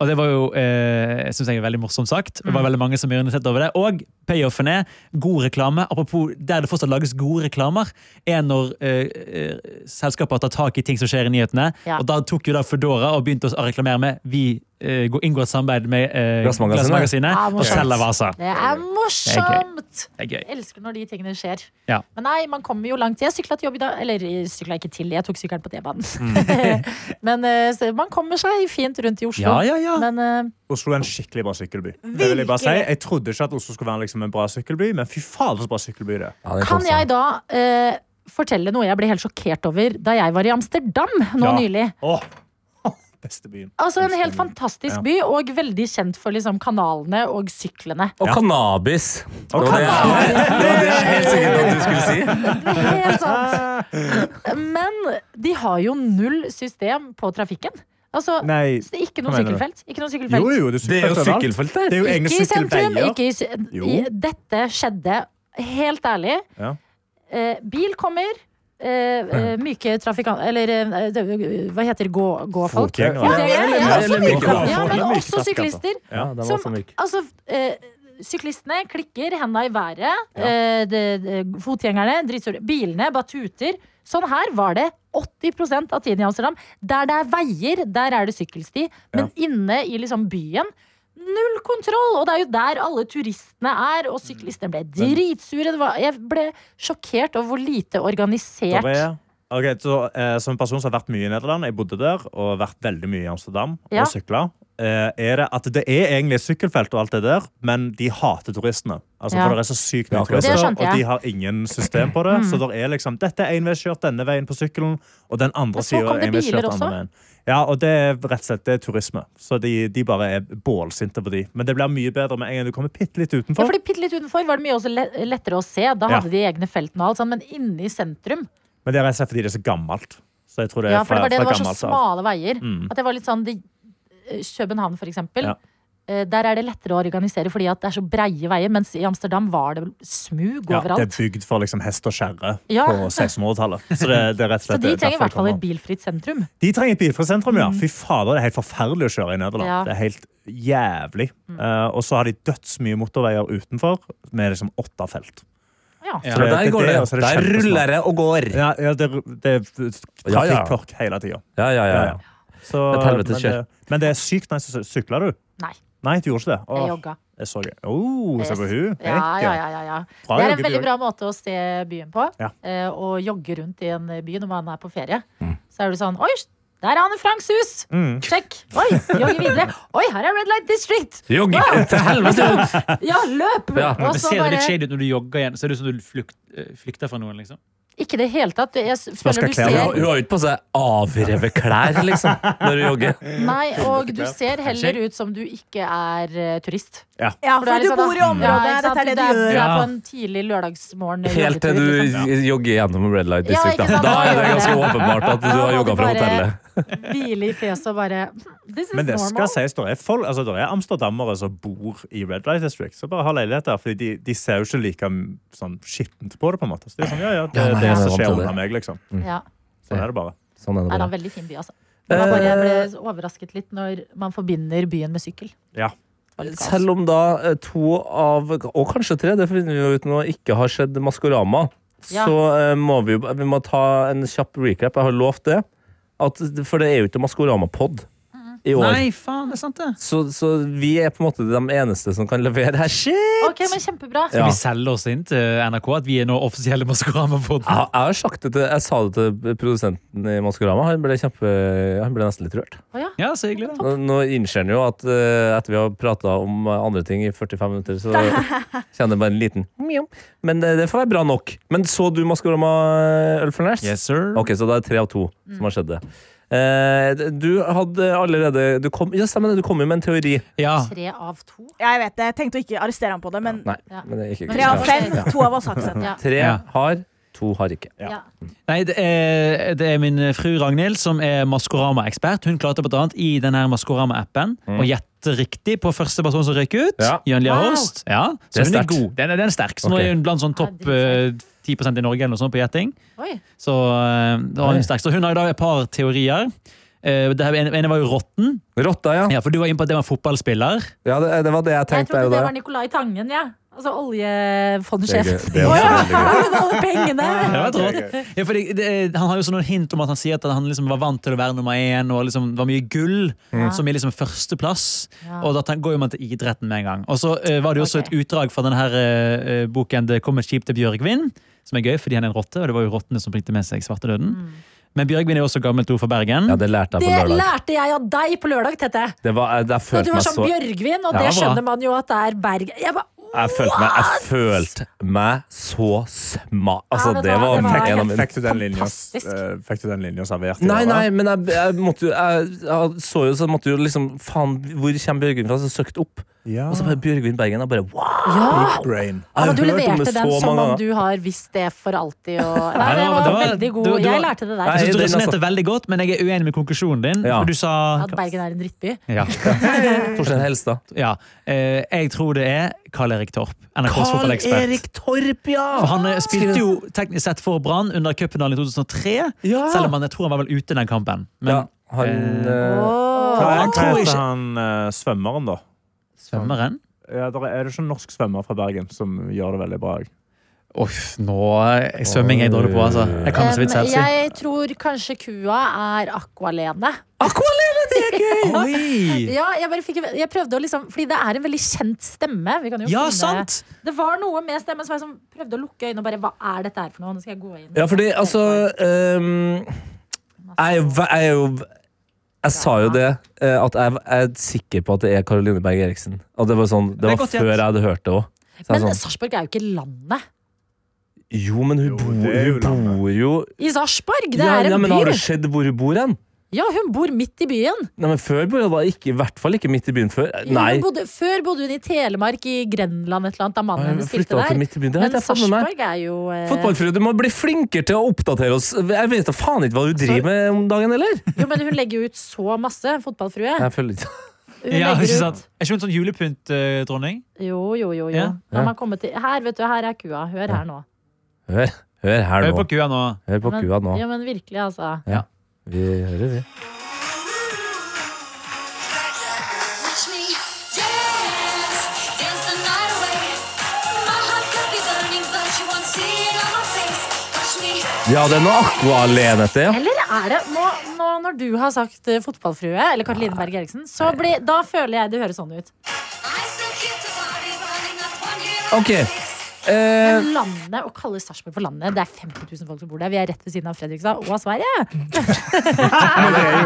Speaker 6: Og det var jo eh, jeg synes jeg er veldig morsomt sagt. Det var veldig mange som ironiserte over det. Og payoffen er god reklame. Apropos der det fortsatt lages gode reklamer, er når eh, eh, selskaper tar tak i ting som skjer i nyhetene.
Speaker 3: Ja.
Speaker 6: Og da tok jo da Foodora og begynte å reklamere med Vi eh, går- inngår et samarbeid med eh,
Speaker 7: Glassmagasinet.
Speaker 6: Glassmagasinet
Speaker 3: Ja,
Speaker 6: og
Speaker 3: morsomt.
Speaker 6: selger vaser.
Speaker 3: Det er morsomt!
Speaker 6: Det er gøy.
Speaker 3: Jeg elsker når de tingene skjer.
Speaker 6: Ja.
Speaker 3: Men nei, man kommer jo langt. Jeg sykla til jobb i dag. Eller sykla ikke til, jeg tok sykkelen på T-banen. Men eh, så man kommer seg fint rundt i Oslo.
Speaker 6: Ja, ja, ja.
Speaker 3: Men eh,
Speaker 4: Oslo er en skikkelig bra sykkelby. Det vil Jeg bare si.
Speaker 2: Virkelig.
Speaker 4: Jeg trodde ikke at Oslo skulle være liksom en bra sykkelby, men fy faen, så bra sykkelby det er.
Speaker 7: Ja, det er sånn
Speaker 3: kan
Speaker 7: konstant.
Speaker 3: jeg da eh, fortelle noe jeg ble helt sjokkert over da jeg var i Amsterdam nå
Speaker 4: Ja.
Speaker 3: nylig?
Speaker 4: Åh, beste byen.
Speaker 3: Altså En helt fantastisk by, og veldig kjent for liksom, kanalene og syklene.
Speaker 7: Og cannabis. Det var det, det var det jeg helt sikkert at du skulle si.
Speaker 3: Helt sant. Men de har jo null system på trafikken. Altså,
Speaker 4: Nei,
Speaker 3: så det er ikke noe
Speaker 4: hva mener du?
Speaker 3: sykkelfelt. Ikke noe sykkelfelt.
Speaker 4: Jo, jo, det er,
Speaker 7: Det er jo
Speaker 4: sykkelfelt overalt.
Speaker 7: sykkelfelt der.
Speaker 4: Det er jo egne
Speaker 3: Ikke i sentrum,
Speaker 4: sykkelveier.
Speaker 3: ikke i sy i,
Speaker 4: Jo.
Speaker 3: Dette skjedde, helt ærlig.
Speaker 4: Ja.
Speaker 3: Eh, bil kommer. eh, eh, myke trafikanter Eller eh, det- hva heter det? gå, gåfolk?
Speaker 4: Fotgjengere.
Speaker 3: Ja, det er- ja,
Speaker 7: Eller-
Speaker 3: også
Speaker 7: eller
Speaker 3: myke.
Speaker 7: myke.
Speaker 3: ja, men
Speaker 4: Myke
Speaker 3: også syklister.
Speaker 7: Ja, den var så
Speaker 3: Som,
Speaker 7: myk.
Speaker 3: altså, eh, syklistene klikker, henda i været. eh, det- det- fotgjengerne, dritsure. Bilene bare tuter. Sånn her var det 80 av tiden i Amsterdam. Der det er veier, der er det sykkelsti. Men inne i liksom byen Null kontroll! Og det er jo der alle turistene er. Og syklistene ble dritsure. Det var, jeg ble sjokkert over hvor lite organisert
Speaker 4: Der er- Ok, så, eh, som en person som har vært mye i Nederland, jeg bodde der og vært veldig mye i Amsterdam
Speaker 3: Ja.
Speaker 4: og sykla, eh, er det at det er egentlig sykkelfelt og alt det der, men de hater turistene. Altså,
Speaker 3: Ja.
Speaker 4: For det er så sykt mye
Speaker 7: Ja, akkurat.
Speaker 3: Det
Speaker 4: turister,
Speaker 3: skjønte jeg. Mm.
Speaker 4: og de har ingen system på det. Så det er liksom dette er enveiskjørt denne veien på sykkelen, og den andre
Speaker 3: Men så
Speaker 4: sida
Speaker 3: kom
Speaker 4: er
Speaker 3: det biler
Speaker 4: enveiskjørt
Speaker 3: også.
Speaker 4: andre veien. Ja, og det er rett og slett det er turisme. Så de, de bare er bålsinte på de. Men det blir mye bedre med en gang du kommer bitte litt
Speaker 3: Ja,
Speaker 4: utenfor.
Speaker 3: fordi Bitte litt utenfor var det mye også le- lettere å se. Da hadde de egne feltene og alt sånn, men inne i sentrum
Speaker 4: Men det er rett og slett fordi det er så gammelt. Så jeg tror det er
Speaker 3: Ja, for det
Speaker 4: fra,
Speaker 3: var det, det
Speaker 4: fra
Speaker 3: var så
Speaker 4: gammelt av. Mm.
Speaker 3: smale veier. At det var litt sånn det, København, for eksempel.
Speaker 4: Ja.
Speaker 3: eh, Der er det lettere å organisere fordi at det er så breie veier, mens i Amsterdam var det vel smug
Speaker 4: Ja, det er
Speaker 3: overalt.
Speaker 4: bygd for liksom hest og kjerre
Speaker 3: Ja.
Speaker 4: på 1600-tallet. Så det, det er rett
Speaker 3: Så
Speaker 4: og slett
Speaker 3: de
Speaker 4: derfor
Speaker 3: trenger i hvert
Speaker 4: jeg kommer.
Speaker 3: fall et bilfritt sentrum.
Speaker 4: De trenger et bilfritt sentrum, ja. Fy fader, det er helt forferdelig å kjøre i Nederland.
Speaker 3: Ja. Mm.
Speaker 4: Det er helt jævlig. Eh, og så har de dødsmye motorveier utenfor med liksom åtte felt.
Speaker 3: Ja.
Speaker 6: Ja.
Speaker 4: Så
Speaker 7: Men der
Speaker 4: det-
Speaker 7: går
Speaker 4: det-
Speaker 7: det.
Speaker 4: altså, det er
Speaker 7: Der
Speaker 4: kjempesmart.
Speaker 7: ruller det og går.
Speaker 4: Ja, ja, det, det er
Speaker 7: Ja, ja.
Speaker 4: trafikkork hele tida.
Speaker 7: Ja, ja, ja. ja.
Speaker 4: Så-
Speaker 7: Det er et helvetes
Speaker 4: men det- Men det er sykt nice å sy- sykle, du.
Speaker 3: Nei,
Speaker 4: Nei, du gjorde ikke det.
Speaker 3: jeg
Speaker 4: Åh,
Speaker 3: jogga.
Speaker 4: jeg så det. Oh, se på hun.
Speaker 3: Ja, ja, ja, ja, ja.
Speaker 4: Bra
Speaker 3: Det er en
Speaker 4: joggetur.
Speaker 3: veldig bra måte å se byen på.
Speaker 4: Ja.
Speaker 3: eh, Å jogge rundt i en eh, by når man er på ferie.
Speaker 4: Mm.
Speaker 3: Så er du sånn Oi, der er Anne Franks hus! Sjekk! Oi, jogge videre. Oi, her er Red Light District!
Speaker 7: Jogg! Til helvete!
Speaker 3: Ja, løp!
Speaker 7: Ja,
Speaker 3: Og så
Speaker 6: Ser det litt
Speaker 3: bare-
Speaker 6: shady ut når du jogger igjen? Ser det ut som du flykt, eh, flykter fra noen, liksom?
Speaker 3: Ikke i det hele tatt. Jeg s- føler
Speaker 4: skal
Speaker 3: du
Speaker 4: klær
Speaker 7: Hun
Speaker 3: ser
Speaker 7: har hun har jo ikke på seg avrevet klær, liksom, når hun jogger.
Speaker 3: Nei, og du ser heller ut som du ikke er eh, turist.
Speaker 2: Ja, for du bor i
Speaker 3: sånn Ja,
Speaker 2: området,
Speaker 3: ikke sant?
Speaker 2: dette er det du gjør.
Speaker 3: er- Du
Speaker 6: Ja.
Speaker 3: er på en tidlig lørdagsmorgen.
Speaker 7: Helt til
Speaker 3: joggetur, liksom.
Speaker 7: du jogger gjennom Red
Speaker 3: Ja,
Speaker 7: Light District.
Speaker 3: ikke
Speaker 7: Da
Speaker 3: sant,
Speaker 7: Da
Speaker 3: da
Speaker 7: er det
Speaker 3: gjør
Speaker 7: ganske
Speaker 3: det.
Speaker 7: åpenbart at
Speaker 3: Da
Speaker 7: du har
Speaker 3: må
Speaker 7: jogga
Speaker 3: du
Speaker 7: fra
Speaker 3: bare-
Speaker 7: hotellet.
Speaker 3: Hvile i fjeset og bare "Hm, This is
Speaker 4: Men det skal
Speaker 3: normal.
Speaker 4: sies, det er, folk, altså, det er amsterdammere som bor i Red Light District, som bare har leiligheter. Fordi de, de ser jo ikke like mm, sånn, skittent på det, på en måte. Så det er sånn, ja, ja, det
Speaker 7: Ja, nei,
Speaker 4: er det
Speaker 7: jeg er
Speaker 4: som
Speaker 7: vant til
Speaker 4: skjer
Speaker 7: det.
Speaker 4: under meg, liksom.
Speaker 3: Ja.
Speaker 4: Sånn er det bare.
Speaker 7: Sånn er
Speaker 3: Nei, det er en
Speaker 7: det bare.
Speaker 3: veldig fin by, altså. Det var bare,
Speaker 7: Eh.
Speaker 3: jeg ble overrasket litt når man forbinder byen med sykkel.
Speaker 4: Ja.
Speaker 3: Det var litt kaos.
Speaker 7: Selv om da eh, to av, og kanskje tre, det finner vi jo ut nå, ikke har skjedd Maskorama,
Speaker 3: Ja.
Speaker 7: så eh, må vi jo vi må ta en kjapp recap. Jeg har lovt det. At, for det er jo ikke Maskorama-pod
Speaker 3: Mm.
Speaker 7: i år.
Speaker 6: Nei, faen, det er sant, det.
Speaker 7: Så, så vi er på en måte de eneste som kan levere her. Shit!
Speaker 3: Ok, men kjempebra.
Speaker 7: Ja.
Speaker 6: Vi selger oss inn til NRK at vi er nå offisielle Maskorama-podden.
Speaker 7: Jeg,
Speaker 3: Ah.
Speaker 7: har- jeg har sagt det til, jeg sa det til produsenten i Maskorama. Han ble, kjempe, han ble nesten litt rørt.
Speaker 3: Å ja.
Speaker 6: Ja, så hyggelig, da.
Speaker 7: Nå, nå innser han jo at eh, etter vi har prata om eh, andre ting i 45 minutter, så kjenner jeg bare en liten mjau. Men eh, det, det får være bra nok. Men så du Maskorama eh, Ulf Ernest?
Speaker 6: Yes, sir.
Speaker 7: Ok, så det er tre av to som har skjedd det. Eh, du hadde allerede du kom, Ja, stemmer det. Du kom jo med en teori.
Speaker 6: Ja.
Speaker 3: Tre av to.
Speaker 2: Jeg vet det. Jeg tenkte å ikke arrestere ham på det, men
Speaker 7: Nei,
Speaker 3: Ja.
Speaker 7: men det er ikke
Speaker 3: Men
Speaker 2: tre av
Speaker 3: Ja.
Speaker 2: fem. To av oss har ikke sett det.
Speaker 3: Ja.
Speaker 7: Tre
Speaker 6: Ja.
Speaker 7: har To har ikke.
Speaker 3: Ja.
Speaker 6: Nei, det er, det er min fru Ragnhild som er Maskorama-ekspert. Hun klarte blant annet i denne her Maskorama-appen å gjette riktig på første person som røyk ut.
Speaker 7: Mm. Ja.
Speaker 6: Jørn Lia
Speaker 3: Wow.
Speaker 6: Horst. Ja,
Speaker 7: Det er
Speaker 6: så hun er
Speaker 7: sterkt.
Speaker 6: god. Den er, den er sterk. Så nå
Speaker 7: Ok.
Speaker 6: er hun blant sånn topp
Speaker 3: Ja,
Speaker 6: eh,
Speaker 3: det
Speaker 6: 10 i Norge eller noe sånt på gjetting.
Speaker 3: Oi.
Speaker 6: Så, eh, da er hun sterk. så hun har i dag et par teorier. Eh, det her, en, en var jo rotten,
Speaker 7: Rotta, ja.
Speaker 6: ja, for du var inne på at det var fotballspiller.
Speaker 7: ja det, det var det jeg
Speaker 3: Jeg trodde
Speaker 7: tenkte der og
Speaker 3: det
Speaker 7: da.
Speaker 3: var Nicolai Tangen, ja. Altså
Speaker 7: Det er
Speaker 3: oljefondsjef.
Speaker 7: gøy. Det er sånn.
Speaker 3: Å
Speaker 7: også
Speaker 3: ja,
Speaker 7: veldig gøy.
Speaker 3: har du alle pengene?
Speaker 6: Det var et rått. Ja, fordi det, han har jo sånne hint om at han sier at han liksom var vant til å være nummer én, og liksom, det var mye gull,
Speaker 7: Mm.
Speaker 6: som er liksom førsteplass.
Speaker 3: Ja.
Speaker 6: Og da ten- går jo man til idretten med en gang. Og så eh, var det jo også
Speaker 3: Ok.
Speaker 6: et utdrag fra denne her, eh, eh, boken 'Det kom et skip til Bjørgvin', som er gøy fordi han er en rotte, og det var jo rottene som bringte med seg svartedøden.
Speaker 3: Mm.
Speaker 6: Men Bjørgvin er jo også gammelt ord for Bergen.
Speaker 7: Ja, det lærte
Speaker 3: Det
Speaker 7: jeg på lørdag.
Speaker 3: lærte jeg av deg på lørdag, Tette.
Speaker 7: Det var, jeg, jeg
Speaker 3: At du
Speaker 7: følte
Speaker 3: var
Speaker 7: meg
Speaker 3: sånn
Speaker 7: så
Speaker 3: Bjørgvin, og
Speaker 6: Ja,
Speaker 3: det
Speaker 6: bra.
Speaker 3: skjønner man jo at det er Bergen. Jeg bare, oh,
Speaker 7: Jeg følte meg, jeg følte meg så sma... Altså,
Speaker 3: vet du
Speaker 7: det
Speaker 3: hva,
Speaker 7: var
Speaker 3: det var
Speaker 7: en av mine
Speaker 4: Fikk du den linja
Speaker 3: Fantastisk.
Speaker 4: eh, Fikk du den linja servert? i
Speaker 7: Nei,
Speaker 4: dag, da?
Speaker 7: nei, men jeg, jeg måtte jo jeg, jeg så jo, så måtte jo liksom Faen, hvor kommer Bjørgvin fra? Så jeg søkte opp.
Speaker 4: Ja.
Speaker 7: Og så bare Bjørgvin Bergen. Jeg bare wow!
Speaker 3: ja.
Speaker 4: Big brain.
Speaker 7: Jeg
Speaker 3: men
Speaker 7: har
Speaker 3: du
Speaker 7: hørt om det
Speaker 3: leverte
Speaker 7: så
Speaker 3: den som
Speaker 7: mange
Speaker 3: om
Speaker 7: ganger.
Speaker 3: du har visst det for alltid. Og... Nei, det
Speaker 6: det var-
Speaker 3: var
Speaker 6: det var-
Speaker 3: veldig god.
Speaker 6: det var- det
Speaker 3: Jeg
Speaker 6: var-
Speaker 3: lærte det
Speaker 7: Nei,
Speaker 6: Jeg
Speaker 3: der.
Speaker 6: synes du
Speaker 7: den,
Speaker 6: resonerte
Speaker 7: altså.
Speaker 6: veldig godt, men jeg er uenig med konklusjonen din.
Speaker 7: Ja.
Speaker 6: For du sa
Speaker 3: At Bergen er en drittby.
Speaker 6: ja.
Speaker 7: Torstein Helstad.
Speaker 6: ja. Eh, Jeg tror det er Karl-Erik Torp. NRKs fotballekspert.
Speaker 7: Erik Torp, ja!
Speaker 6: For han eh, spilte jo teknisk sett for Brann under cupfinalen i 2003.
Speaker 7: Ja.
Speaker 6: Selv om han, jeg tror han var vel ute den kampen. Men
Speaker 7: ja, han eh,
Speaker 4: Hva
Speaker 3: Åh.
Speaker 6: han
Speaker 4: hva
Speaker 6: tror
Speaker 4: heter
Speaker 6: ikke-
Speaker 4: han eh, svømmeren, da?
Speaker 6: svømmeren
Speaker 4: Ja, der er det ikke en norsk svømmer fra Bergen som gjør det veldig bra? jeg?
Speaker 6: Uff, nå er- Svømming er jeg dårlig på, altså. Jeg kan det så vidt
Speaker 3: Um,
Speaker 6: selv si.
Speaker 3: jeg tror kanskje kua er Aqualene.
Speaker 6: Oi!
Speaker 3: Ja, jeg, bare fikk, jeg prøvde å liksom Fordi det er en veldig kjent stemme. Vi kan jo
Speaker 6: Ja,
Speaker 3: finne-
Speaker 6: sant!
Speaker 3: Det var noe med stemmen som jeg som prøvde å lukke øynene og bare Hva er dette her for noe? Nå skal jeg gå inn.
Speaker 7: Ja, fordi altså ehm, jeg, er jo ve- jeg er jo Jeg sa jo det, eh, at jeg, jeg er sikker på at det er Caroline Berg Eriksen. At det var, sånn, det
Speaker 6: er
Speaker 7: var
Speaker 6: godt gjett.
Speaker 7: før jeg hadde hørt det òg.
Speaker 3: Men
Speaker 7: Sånn,
Speaker 3: Sarpsborg er jo ikke landet.
Speaker 7: jo, men hun,
Speaker 4: Jo,
Speaker 7: bor,
Speaker 4: det er jo
Speaker 7: hun
Speaker 4: landet.
Speaker 7: bor jo
Speaker 3: I Sarpsborg! Det
Speaker 7: ja,
Speaker 3: er
Speaker 7: ja,
Speaker 3: en
Speaker 7: men Har
Speaker 3: by.
Speaker 7: du sett hvor hun bor hen?
Speaker 3: Ja, hun bor midt i byen.
Speaker 7: Nei, men Før bor hun da ikke, i hvert fall ikke midt i byen før. Nei.
Speaker 3: Hun bodde, før bodde hun i Telemark, i Grenland, et eller annet, da mannen
Speaker 7: Nei,
Speaker 3: hennes spilte
Speaker 7: flytta hun til
Speaker 3: der.
Speaker 7: midt i byen. Det
Speaker 3: Men
Speaker 7: har ikke jeg fått med meg.
Speaker 3: Sarpsborg er jo eh,
Speaker 7: Fotballfrue, du må bli flinkere til å oppdatere oss. Jeg vet da faen ikke hva du driver med om dagen, eller?
Speaker 3: Jo, men hun legger jo ut så masse, fotballfrue.
Speaker 7: Jeg føler ikke
Speaker 3: Hun
Speaker 6: Ja,
Speaker 3: legger
Speaker 6: ikke
Speaker 3: ut-
Speaker 6: sant? Er ikke hun sånn julepynt-dronning?
Speaker 3: Jo, jo, jo. jo.
Speaker 6: Ja.
Speaker 3: La meg komme til Her, vet du, her er kua. Hør her nå.
Speaker 7: Hør, hør her
Speaker 6: Hør
Speaker 7: nå.
Speaker 6: på kua nå.
Speaker 7: Hør på
Speaker 3: Men-
Speaker 7: kua nå.
Speaker 3: Ja, men virkelig, altså.
Speaker 7: Vi hører, vi.
Speaker 8: Watch me dance, dance the night away. My heart could be burning, but you won't see it on my face. Watch me.
Speaker 7: Ja, det er noe Aqua-lenete, ja.
Speaker 3: Eller er det nå, nå når du har sagt eh, fotballfrue, eller Karoline Berg Eriksen, så blir, da føler jeg det høres sånn ut.
Speaker 8: I still keep the body running up on you.
Speaker 7: Ok. Eh,
Speaker 3: Men landet, å kalle Sarpsborg for landet, det er 50 000 folk som bor der. Vi er rett ved siden av Fredrikstad og Sverige.
Speaker 4: Men det er jo,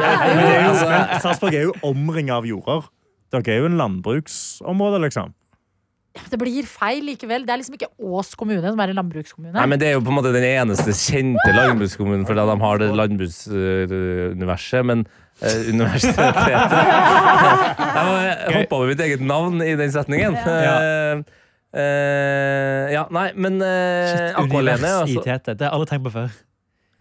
Speaker 7: altså-
Speaker 4: men Sarpsborg er jo omringa av jorder. Dere er jo en landbruksområde, liksom.
Speaker 3: Det blir feil likevel. Det er liksom ikke Ås kommune som er en landbrukskommune.
Speaker 7: nei, men Det er jo på en måte den eneste kjente landbrukskommunen, fordi de har det landbruksuniverset. Men eh, universitetet Jeg må hoppe over mitt eget navn i den setningen. Eh, eh, ja, nei, men uh, Aqua-lene,
Speaker 6: Univers i
Speaker 7: altså.
Speaker 6: tete. Det har alle tenkt på før.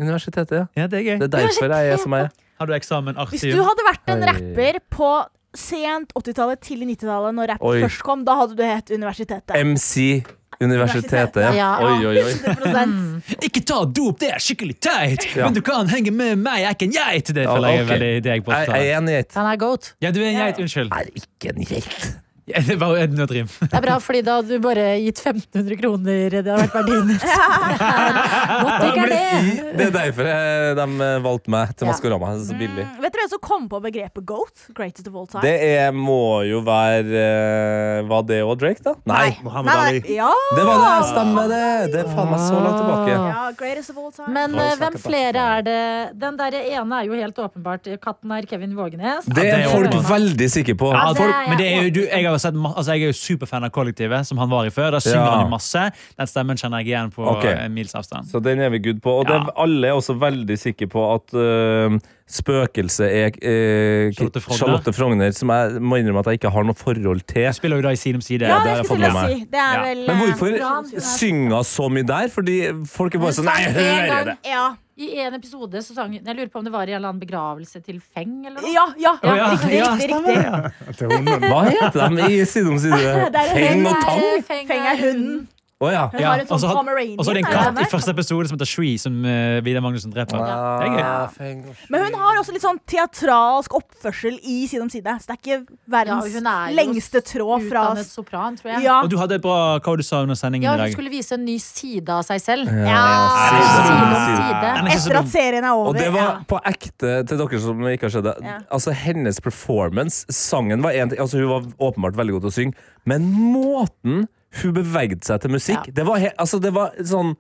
Speaker 7: Universitetet, ja.
Speaker 6: Ja, det
Speaker 7: Det
Speaker 6: er gøy.
Speaker 7: er derfor jeg er som jeg er.
Speaker 6: Har du eksamen
Speaker 2: Hvis du
Speaker 6: artium?
Speaker 2: hadde vært en
Speaker 7: Oi.
Speaker 2: rapper på sent 80-tallet, tidlig 90-tallet, når rapp
Speaker 7: Oi.
Speaker 2: først kom, da hadde du hett Universitetet.
Speaker 7: MC Universitetet.
Speaker 3: Ja.
Speaker 7: Oi, oi, oi.
Speaker 2: 100%
Speaker 6: Ikke ta dop, det er skikkelig teit!
Speaker 7: Ja.
Speaker 6: Men du kan henge med meg, jeg er ikke en geit! Det
Speaker 7: Ja,
Speaker 6: føler jeg er
Speaker 7: ok.
Speaker 6: veldig det jeg
Speaker 7: Jeg jeg
Speaker 6: påstår.
Speaker 7: er en geit.
Speaker 3: Han er goat.
Speaker 6: Ja, du er en geit. Unnskyld.
Speaker 7: Er ikke en geit.
Speaker 6: Ja, Det var en nødrim.
Speaker 3: Det er bra, fordi da hadde du bare gitt 1500 kroner. Det hadde vært verdien. Godt ikke er det.
Speaker 7: Det er derfor eh, de eh, valgte meg til
Speaker 3: Ja.
Speaker 7: Maskorama. Det er Så billig.
Speaker 2: Mm, Vet du hvem som kom på begrepet goat? Greatest of all time.
Speaker 7: Det er, må jo være eh, Var det òg Drake, da? Nei.
Speaker 4: Mohammed Ali.
Speaker 2: Ja.
Speaker 7: Det var det, stemmer det! Det er faen meg så langt tilbake.
Speaker 2: ja, greatest of all time.
Speaker 3: Men eh, hvem flere er det? Den der ene er jo helt åpenbart. Katten er Kevin Vågenes.
Speaker 7: Det
Speaker 6: det altså.
Speaker 7: er
Speaker 6: er
Speaker 7: folk
Speaker 6: åpenbart.
Speaker 7: veldig sikre på.
Speaker 6: Ja,
Speaker 3: det er
Speaker 6: folk,
Speaker 3: jeg
Speaker 6: men det er jo, du, jeg har jo, sett, ma- altså, jeg er jo superfan av Kollektivet, som han var i før. Da synger
Speaker 7: Ja.
Speaker 6: han jo masse. Den stemmen kjenner jeg igjen på
Speaker 7: Ok.
Speaker 6: en mils avstand.
Speaker 7: Så den er vi good på. Og
Speaker 6: Ja.
Speaker 7: det, alle er også veldig sikre på at øh, spøkelset er øh,
Speaker 6: Charlotte Frogner.
Speaker 7: Charlotte Frogner, som jeg må innrømme at jeg ikke har noe forhold til.
Speaker 6: Spiller jo da i Side om side.
Speaker 2: Ja,
Speaker 7: det
Speaker 2: det
Speaker 7: har jeg fått
Speaker 2: skulle
Speaker 7: med
Speaker 2: jeg si. Det er
Speaker 6: Ja.
Speaker 2: vel eh,
Speaker 7: Men hvorfor
Speaker 3: Bra.
Speaker 7: synger hun så mye der? Fordi folk er bare sånn Nei, jeg
Speaker 3: en
Speaker 7: hører
Speaker 3: gang
Speaker 7: det!
Speaker 2: Ja,
Speaker 3: i en episode så sang Jeg lurer på om det var i en eller annen begravelse til Feng, eller noe?
Speaker 2: ja, ja,
Speaker 6: Å, ja.
Speaker 2: riktig,
Speaker 6: Ja,
Speaker 2: riktig,
Speaker 6: stemmer
Speaker 2: riktig.
Speaker 6: det, ja.
Speaker 7: Hva heter de i Side om side?
Speaker 2: Det er en
Speaker 7: Feng og
Speaker 2: hund.
Speaker 7: Tang?
Speaker 3: Eh,
Speaker 2: Feng er hunden.
Speaker 7: Å ja.
Speaker 2: Hun har en
Speaker 6: og så
Speaker 2: sånn
Speaker 6: had-
Speaker 2: Pomeranian.
Speaker 6: Og så er det en
Speaker 2: er det
Speaker 6: katt i
Speaker 2: det?
Speaker 6: første episode som heter Shree, som eh, Vidar Magnussen dreper. Det er gøy.
Speaker 2: Men hun har også litt sånn teatralsk oppførsel i Side om side. Så det er ikke verdens
Speaker 3: Ja, hun er jo
Speaker 2: lengste tråd fra
Speaker 3: Utdannet sopran, tror jeg.
Speaker 2: ja.
Speaker 6: Og du hadde et bra hva du sa under sendingen
Speaker 3: Ja,
Speaker 6: i
Speaker 3: hun
Speaker 6: dag.
Speaker 3: skulle vise en ny side av seg selv.
Speaker 2: ja.
Speaker 3: Side om
Speaker 7: Side.
Speaker 6: Den
Speaker 3: side.
Speaker 6: er ikke så
Speaker 2: Etter
Speaker 6: dum.
Speaker 2: at serien er over.
Speaker 7: Og det
Speaker 2: ja.
Speaker 7: var på ekte til dere som ikke har sett det.
Speaker 2: Ja.
Speaker 7: Altså Hennes performance, sangen var en ting Altså Hun var åpenbart veldig god til å synge, men måten hun bevegde seg til musikk, det, var he altså, det var sånn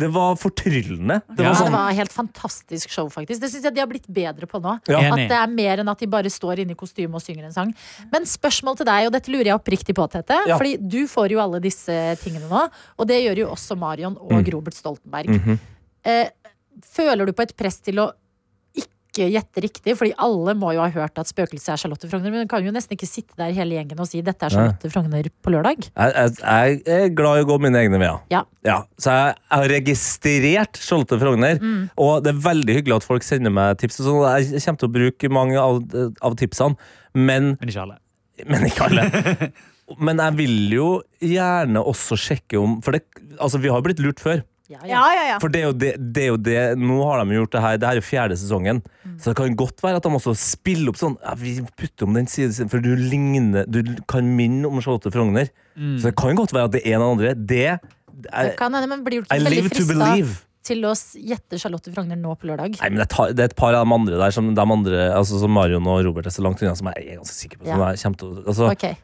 Speaker 7: Det var fortryllende. Det var
Speaker 6: Ja.
Speaker 3: Ja, det
Speaker 7: sånn
Speaker 3: var et helt fantastisk show, faktisk. Det syns jeg de har blitt bedre på nå.
Speaker 7: Ja.
Speaker 3: At
Speaker 6: Enig.
Speaker 3: det er mer enn at de bare står inne i kostyme og synger en sang. Men spørsmål til deg, og dette lurer jeg oppriktig på, Tete.
Speaker 7: Ja.
Speaker 3: Fordi du får jo alle disse tingene nå, og det gjør jo også Marion og
Speaker 7: Mm.
Speaker 3: Robert Stoltenberg.
Speaker 7: Mhm.
Speaker 3: eh, føler du på et press til å ikke gjette riktig? Fordi alle må jo ha hørt at spøkelset er Charlotte Frogner, men hun kan jo nesten ikke sitte der hele gjengen og si 'dette er Charlotte Frogner på lørdag'.
Speaker 7: jeg, jeg, jeg er glad i å gå mine egne veier.
Speaker 3: Ja.
Speaker 7: så jeg, jeg har registrert Skjolte Frogner, og det er veldig hyggelig at folk sender meg tips. og sånn. Jeg kommer til å bruke mange av, av tipsene, men
Speaker 6: Men ikke alle.
Speaker 7: Men ikke alle. Men jeg vil jo gjerne også sjekke om For det, altså vi har jo blitt lurt før.
Speaker 3: Ja, ja.
Speaker 2: ja, ja, ja.
Speaker 7: For det er, jo det, det er jo det Nå har de gjort det her. Det her er jo fjerde sesongen. Så det kan godt være at de også spiller opp sånn ja, Vi putter om den siden sin, for du ligner Du kan minne om Charlotte Frogner. Så det kan godt være at det er en eller andre. Det
Speaker 3: Det
Speaker 7: er,
Speaker 3: kan hende, men blir du
Speaker 7: I
Speaker 3: ikke veldig
Speaker 7: live to
Speaker 3: frista
Speaker 7: believe.
Speaker 3: til å s- gjette Charlotte Frogner nå på lørdag?
Speaker 7: Nei, men det, tar, det er et par av de andre der som, de andre, altså, som Marion og Robert er så langt unna, som jeg er ganske sikker på. Som,
Speaker 3: Ja.
Speaker 7: jeg kommer til, å- altså,
Speaker 3: Ok.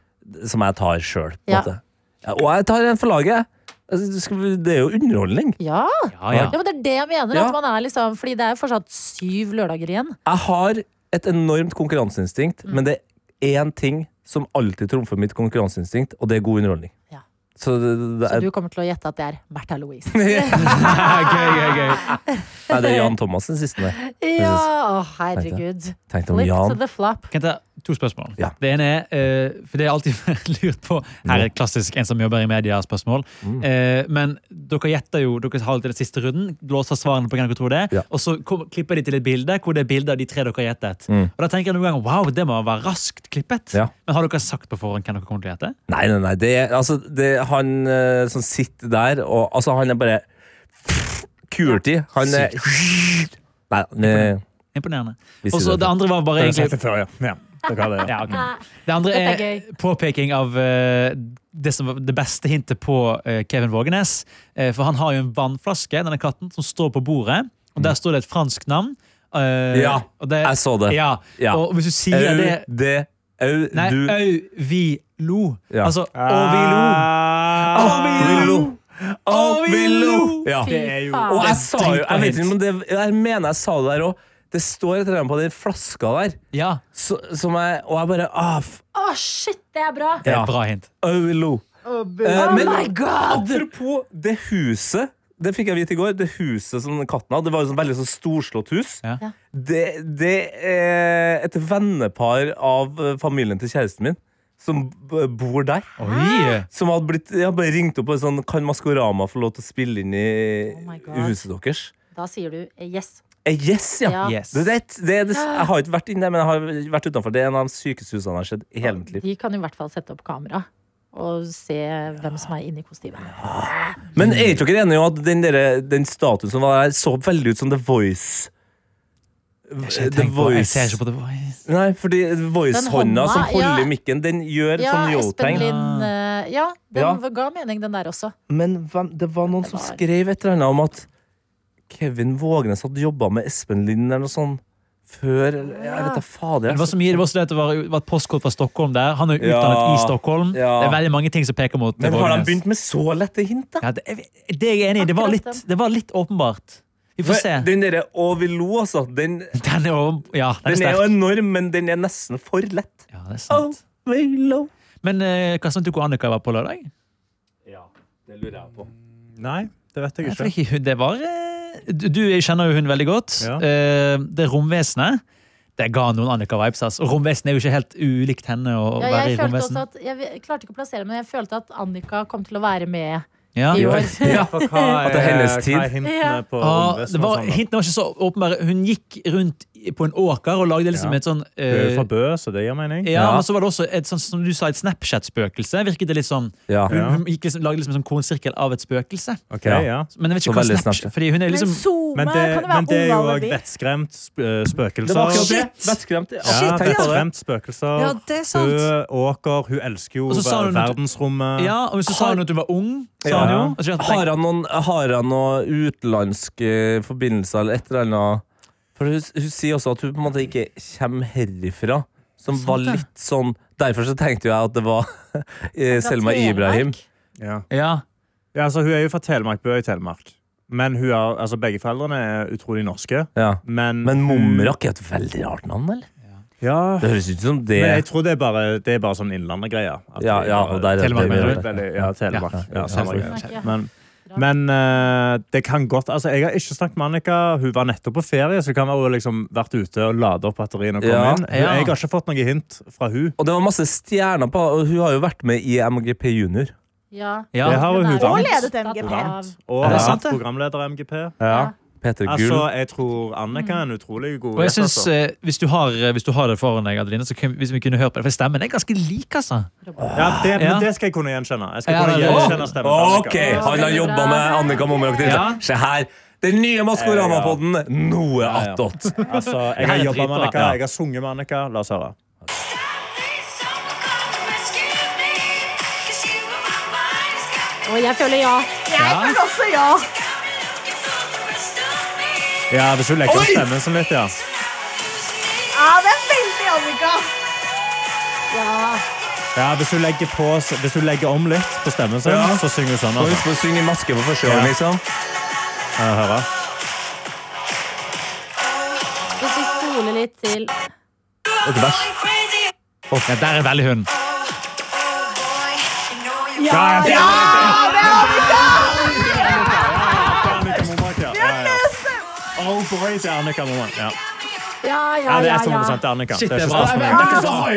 Speaker 7: som jeg tar sjøl.
Speaker 3: Ja.
Speaker 7: Ja. Og jeg tar en for laget. Altså, det skal- Det er jo underholdning.
Speaker 3: Ja.
Speaker 6: Ja, ja.
Speaker 3: ja, men det er det jeg mener.
Speaker 7: Ja.
Speaker 3: At man er liksom, fordi det er fortsatt syv lørdager igjen.
Speaker 7: Jeg har et enormt konkurranseinstinkt,
Speaker 3: Mm.
Speaker 7: men det er én ting som alltid trumfer mitt konkurranseinstinkt, og det er god underholdning.
Speaker 3: Ja.
Speaker 7: Så det, det,
Speaker 3: Så
Speaker 7: det,
Speaker 3: du kommer til å gjette at det er Märtha Louise.
Speaker 6: gøy, gøy, gøy.
Speaker 7: nei, det er Jan Thomas den siste der.
Speaker 3: ja, å, herregud.
Speaker 7: Tenkte om
Speaker 3: Flip to
Speaker 7: Jan
Speaker 3: the flop.
Speaker 6: Kan jeg ta to spørsmål?
Speaker 7: Ja.
Speaker 6: Det ene er, eh, for det er alltid lurt på Her er et klassisk en som jobber i media-spørsmål.
Speaker 7: Mm.
Speaker 6: Eh, men dere gjetter jo, dere har alltid den siste runden, låser svarene på hvem dere tror det er,
Speaker 7: Ja.
Speaker 6: og så kom, klipper de til et bilde hvor det er bilde av de tre dere har gjettet. Og da tenker jeg noen ganger wow, det må være raskt klippet.
Speaker 7: Mm. Ja.
Speaker 6: Men har dere sagt på forhånd hvem dere kommer til å gjette?
Speaker 7: Nei, nei, nei. Det, er- altså, det, er han eh, som sitter der, og altså, han er bare Kurti. Han er Nei, han er-
Speaker 6: Imponerende.
Speaker 7: Vi sier
Speaker 6: Og så
Speaker 7: det.
Speaker 6: det andre var bare
Speaker 4: Jeg har sagt
Speaker 6: egentlig
Speaker 4: det før, ja. ja. det kan det.
Speaker 6: ja, ok. Det andre
Speaker 3: Dette
Speaker 6: er,
Speaker 3: er
Speaker 6: påpeking av eh, det, som var det beste hintet på eh, Kevin Vågenes. Eh, for han har jo en vannflaske, denne katten, som står på bordet. Og der står det et fransk navn. Eh,
Speaker 7: Mm. Ja,
Speaker 6: og det,
Speaker 7: jeg så det.
Speaker 6: Ja.
Speaker 7: Ja.
Speaker 6: Og hvis du sier
Speaker 7: Au,
Speaker 6: det
Speaker 7: det Au,
Speaker 6: Nei,
Speaker 7: du
Speaker 6: au, vi, lo.
Speaker 7: Ja. Ah.
Speaker 6: Altså, å, vi, lo.
Speaker 4: Ah.
Speaker 6: Å, vi, lo. Å, vi, lo.
Speaker 7: Ja.
Speaker 3: Fy
Speaker 4: jo-
Speaker 3: faen.
Speaker 7: Og
Speaker 6: Det er
Speaker 7: jeg sa jo
Speaker 6: dritbra
Speaker 7: Jeg, vet
Speaker 6: hint.
Speaker 7: ikke, men det, jeg mener jeg sa det der òg. Det står et eller annet på den flaska der,
Speaker 6: Ja,
Speaker 7: så, som jeg, og jeg bare ah, f-
Speaker 3: Å, shit, det er bra!
Speaker 6: det er
Speaker 7: Ja.
Speaker 6: et bra hint.
Speaker 7: au, lo. Eh,
Speaker 3: Oh
Speaker 7: men
Speaker 3: my god!
Speaker 7: apropos det huset. Det fikk jeg vite i går. Det huset som den katten hadde, det var jo sånn veldig sånn storslått hus.
Speaker 6: Ja.
Speaker 3: Ja.
Speaker 7: Det, det er et vennepar av eh, familien til kjæresten min som b- bor der.
Speaker 6: Oi.
Speaker 7: Som hadde blitt, jeg hadde bare ringt opp og sånn Kan Maskorama få lov til å spille inn i,
Speaker 3: Oh my God.
Speaker 7: i huset deres?
Speaker 3: Da sier du eh, yes.
Speaker 7: Eh, Yes, ja.
Speaker 3: Ja.
Speaker 6: Yes.
Speaker 7: Det, er et- det, er det, jeg har ikke vært inne der, men jeg har vært utenfor. Det er en av de sykeste husene jeg har sett i hele mitt liv.
Speaker 3: De kan i hvert fall sette opp kamera. Og se hvem som er inni kostymet.
Speaker 7: Men er ikke dere enige om at den, der, den statuen som var der, så veldig ut som The Voice?
Speaker 6: Jeg,
Speaker 7: The
Speaker 6: tenker på, jeg ser
Speaker 7: Voice.
Speaker 6: ikke på det. Oi.
Speaker 7: Nei, fordi Voice-hånda som
Speaker 3: hånda, ja.
Speaker 7: holder mikken, den gjør
Speaker 3: Ja,
Speaker 7: sånn
Speaker 3: Espen
Speaker 7: yo-tegn.
Speaker 3: Lind. eh, Ja, den
Speaker 7: Ja.
Speaker 3: ga mening, den der også.
Speaker 7: Men hvem, det var noen som
Speaker 3: var-
Speaker 7: skrev et eller annet om at Kevin Vågenes hadde jobba med Espen Lind eller noe sånt før. eller- Jeg vet da fader.
Speaker 6: Det var så mye, det var så det at det var, var et postkort fra Stockholm der. Han er jo utdannet
Speaker 7: Ja.
Speaker 6: i Stockholm.
Speaker 7: Ja.
Speaker 6: Det er veldig mange ting som peker mot
Speaker 7: Men har de
Speaker 6: Vågenes.
Speaker 7: begynt med så lette hint, da?
Speaker 6: Ja, det, er- det er jeg enig i. Det var
Speaker 3: Akkurat
Speaker 6: litt, det var litt åpenbart. Vi får se.
Speaker 7: Den derre Å, vi lo, altså. Den,
Speaker 6: Den er, over- ja, den er
Speaker 7: Den er jo
Speaker 6: sterk.
Speaker 7: enorm, men den er nesten for lett.
Speaker 6: Ja, det er sant.
Speaker 7: Veldig low.
Speaker 6: Men eh, hva som tok Annika var på lørdag?
Speaker 7: Det lurer jeg på.
Speaker 4: Nei, det vet jeg
Speaker 6: Jeg
Speaker 4: ikke.
Speaker 6: tror ikke hun, det var eh, Du du kjenner jo hun veldig godt.
Speaker 4: Ja.
Speaker 6: Eh, Det romvesenet det ga noen Annika-vibes. ass. Og romvesenet er jo ikke helt ulikt henne. å å
Speaker 3: Ja,
Speaker 6: være i
Speaker 3: jeg, følte
Speaker 6: romvesen.
Speaker 3: også at, jeg v- klarte ikke å plassere, men jeg følte at Annika kom til å være med
Speaker 6: ja.
Speaker 3: i år.
Speaker 4: Ja, for hva er,
Speaker 7: At det er hennes tid.
Speaker 4: Hva er hintene
Speaker 3: Ja.
Speaker 4: på
Speaker 6: Ja,
Speaker 4: Romvesenet
Speaker 6: Ah, det var,
Speaker 4: og sånn, da?
Speaker 6: hintene var ikke så åpenbare. Hun gikk rundt i- på en åker og lagde liksom
Speaker 4: Ja.
Speaker 6: et sånn
Speaker 4: Du er
Speaker 6: eh,
Speaker 4: jo fra Bø, så det gir mening.
Speaker 7: Ja.
Speaker 6: ja, men så var det også et sånn som du sa, et Snapchat-spøkelse. Virket det litt som
Speaker 7: Ja.
Speaker 6: Hun, hun gikk liksom, lagde liksom en sånn konsirkel av et spøkelse.
Speaker 4: Ok, ja.
Speaker 6: Men jeg vet
Speaker 7: Så
Speaker 6: ikke hva
Speaker 7: veldig
Speaker 6: Snapchat
Speaker 7: Snapchat.
Speaker 6: Fordi hun er liksom
Speaker 2: Men SoMe
Speaker 4: Men det,
Speaker 2: kan jo
Speaker 4: men det
Speaker 2: være
Speaker 4: er jo
Speaker 2: ung
Speaker 4: òg
Speaker 2: albi.
Speaker 4: vettskremt sp øh, spøkelser.
Speaker 7: Vettskremt.
Speaker 6: Ah,
Speaker 7: Ja, tenk på
Speaker 4: Ja,
Speaker 7: det.
Speaker 4: vettskremt spøkelser.
Speaker 6: Ja, det er sant.
Speaker 4: Bø, åker, hun elsker jo
Speaker 6: Og så sa hun at-
Speaker 4: verdensrommet.
Speaker 6: Ja, og så sa hun at hun var ung. Sa
Speaker 7: Ja.
Speaker 6: hun jo. Og så tenkte jeg,
Speaker 7: Har han noen, har han noen utenlandske forbindelser eller et eller annet? For hun, hun sier også at hun på en måte ikke kommer herifra. Som var
Speaker 6: det.
Speaker 7: litt sånn Derfor så tenkte jo jeg at det var eh, Selma Ibrahim.
Speaker 4: Ja.
Speaker 6: Ja.
Speaker 4: Ja, altså, hun er jo fra Telemark, Bø i Telemark. Men hun er, altså, begge foreldrene er utrolig norske.
Speaker 7: Ja.
Speaker 4: Men,
Speaker 7: Men
Speaker 6: Mm.
Speaker 7: Momrak er et veldig rart navn, eller?
Speaker 4: Ja,
Speaker 7: Det høres ut som det
Speaker 4: men jeg tror det er bare, det er bare sånn innlandet-greie. At
Speaker 7: Ja,
Speaker 4: det er
Speaker 7: ja,
Speaker 4: bare-
Speaker 7: og der er
Speaker 6: Telemark,
Speaker 7: det
Speaker 6: mener
Speaker 4: Veldig,
Speaker 6: du?
Speaker 4: veldig, ja, Telemark.
Speaker 6: Ja.
Speaker 4: Ja, samme
Speaker 7: Ja.
Speaker 4: greie.
Speaker 3: Ja.
Speaker 4: Men, men eh, det kan godt altså, Jeg har ikke snakket med Annika. Hun var nettopp på ferie, så det kan være hun har liksom vært ute og lade opp batteriene. og komme
Speaker 7: Ja.
Speaker 4: inn. Hun,
Speaker 6: Ja.
Speaker 4: Jeg har ikke fått noe hint fra hun.
Speaker 7: Og det var masse stjerner på og Hun har jo vært med i MGP Junior.
Speaker 3: Ja.
Speaker 6: Ja.
Speaker 4: Det har hun
Speaker 3: Hun er
Speaker 4: vant.
Speaker 3: jo
Speaker 2: ledet
Speaker 3: opptatt
Speaker 2: MGP.
Speaker 3: av-
Speaker 4: Og
Speaker 6: Er det
Speaker 4: har
Speaker 6: sant,
Speaker 4: vært
Speaker 6: det?
Speaker 4: programleder MGP.
Speaker 3: Ja.
Speaker 7: Peter Gull.
Speaker 4: Altså, jeg tror Annika er en utrolig god
Speaker 6: Og jeg
Speaker 4: gjest,
Speaker 6: synes,
Speaker 4: altså.
Speaker 6: eh, hvis, du har, hvis du har det foran deg, Adeline, så kan, hvis vi kunne hørt på det For stemmen er ganske lik, altså.
Speaker 4: ja, det,
Speaker 6: Ja.
Speaker 4: men det skal jeg kunne gjenkjenne. Jeg skal
Speaker 6: Ja,
Speaker 4: kunne
Speaker 6: det-
Speaker 4: gjenkjenne stemmen til Annika.
Speaker 7: Ok, han har jobba med Annika Momrak.
Speaker 6: Ja.
Speaker 7: Se her! Den nye Maskorama-podden! Noe attåt.
Speaker 4: Altså, jeg har
Speaker 6: Det er
Speaker 4: jobba
Speaker 6: dritbra.
Speaker 4: med Annika,
Speaker 6: Ja.
Speaker 4: jeg har sunget med Annika. La oss høre.
Speaker 3: Og jeg føler ja.
Speaker 2: Jeg føler også ja.
Speaker 4: Ja, Hvis hun legger opp stemmen sin litt, ja.
Speaker 2: Ja, det er veldig Annika.
Speaker 4: ja hvis, hun legger på, hvis hun legger om litt på stemmen sin,
Speaker 7: Ja.
Speaker 4: så synger hun sånn.
Speaker 7: Må
Speaker 4: Altså.
Speaker 7: huske på å synge i maske for første gang,
Speaker 4: Ja.
Speaker 7: liksom.
Speaker 4: Ja, hør da.
Speaker 3: Hvis vi stoler litt til
Speaker 6: Ja, der er veldig hun.
Speaker 2: Ja, ja, det er Annika!
Speaker 4: Annika Momrak, ja. Ja, ja. Oh boy, det er Annika Momrak. Ja.
Speaker 3: Ja, ja,
Speaker 4: ja,
Speaker 3: ja.
Speaker 4: det er
Speaker 3: ja.
Speaker 4: 100 det er Annika. det er ikke spørsmål.
Speaker 7: Ah!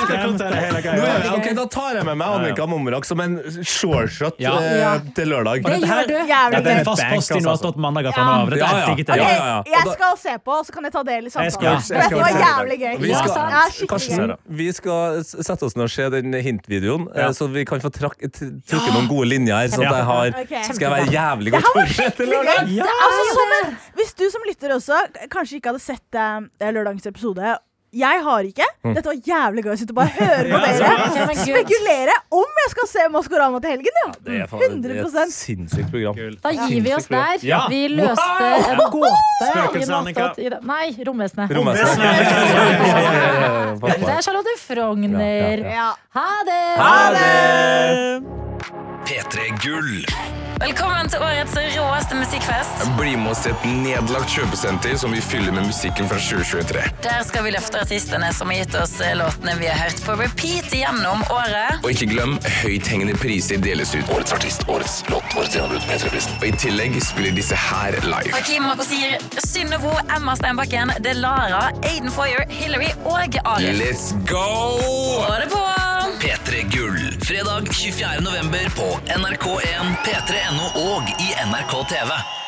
Speaker 4: Skremt er det hele
Speaker 7: Nå
Speaker 4: greia.
Speaker 7: er det- Ok, Da tar jeg med meg Annika Momrak som en shortshot
Speaker 6: Ja.
Speaker 7: eh, til lørdag.
Speaker 3: Det gjør du.
Speaker 2: Jævlig
Speaker 6: Det
Speaker 4: Det
Speaker 6: er
Speaker 4: er
Speaker 2: gøy.
Speaker 4: et
Speaker 6: fast
Speaker 4: bank,
Speaker 6: post i noe
Speaker 4: altså.
Speaker 6: attåt mandager fra nå av. Dette
Speaker 7: Ja,
Speaker 6: er
Speaker 7: ja.
Speaker 6: digitalt.
Speaker 7: Ja, ja, ja.
Speaker 2: Jeg skal se på, og så kan jeg ta del i
Speaker 4: Jeg skal-
Speaker 2: samtalen. For
Speaker 4: jeg skal
Speaker 2: dette var
Speaker 4: se.
Speaker 2: jævlig gøy.
Speaker 7: Vi skal-
Speaker 2: Ja, skikkelig gøy.
Speaker 7: Karsten, vi skal s- sette oss ned og se den hintvideoen, eh,
Speaker 4: Ja.
Speaker 7: så vi kan få trakk- t- trukke noen gode linjer her. Så at jeg
Speaker 2: Ok.
Speaker 7: har, skal jeg være jævlig
Speaker 2: Det
Speaker 7: godt
Speaker 2: her var
Speaker 7: forberedt til
Speaker 2: skikkelig
Speaker 7: lørdag.
Speaker 2: gøy. Altså, som en, hvis du som lytter også k- kanskje ikke hadde sett eh, lørdagens episode Jeg har ikke.
Speaker 7: Mm.
Speaker 2: Dette var jævlig gøy å sitte og bare høre på
Speaker 7: altså,
Speaker 2: dere.
Speaker 3: Ja, men gud.
Speaker 2: Spekulere om jeg skal se Maskorama til helgen, ja.
Speaker 7: Det er faen- det er et
Speaker 2: 100
Speaker 7: sinnssykt program.
Speaker 3: Da gir vi oss der.
Speaker 6: Ja.
Speaker 3: Vi løste en gåte. i en
Speaker 4: Annika.
Speaker 3: opptatt- i det- Nei, romvesenet.
Speaker 7: Romvesenet.
Speaker 3: Det er Charlotte Frogner.
Speaker 2: Ja.
Speaker 3: Ha det!
Speaker 1: P3 Gull.
Speaker 9: Velkommen til årets råeste musikkfest.
Speaker 10: Bli med oss til et nedlagt kjøpesenter som vi fyller med musikken fra 2023.
Speaker 9: Der skal vi løfte artistene som har gitt oss låtene vi har hørt på repeat gjennom året.
Speaker 10: Og ikke glem, høythengende priser deles ut. Årets artist, årets låt, årets gjennombrudd, P3-prisen. Og i tillegg spiller disse her live.
Speaker 9: Hakim Markosir, Synnøvo, Emma Steinbakken, Det er Lara, Aiden Foyer, Hillary og Arild.
Speaker 10: Let's go!
Speaker 9: Ha det på!
Speaker 1: P3 Gull. Fredag 24. november på NRK1, P3.no og i NRK TV.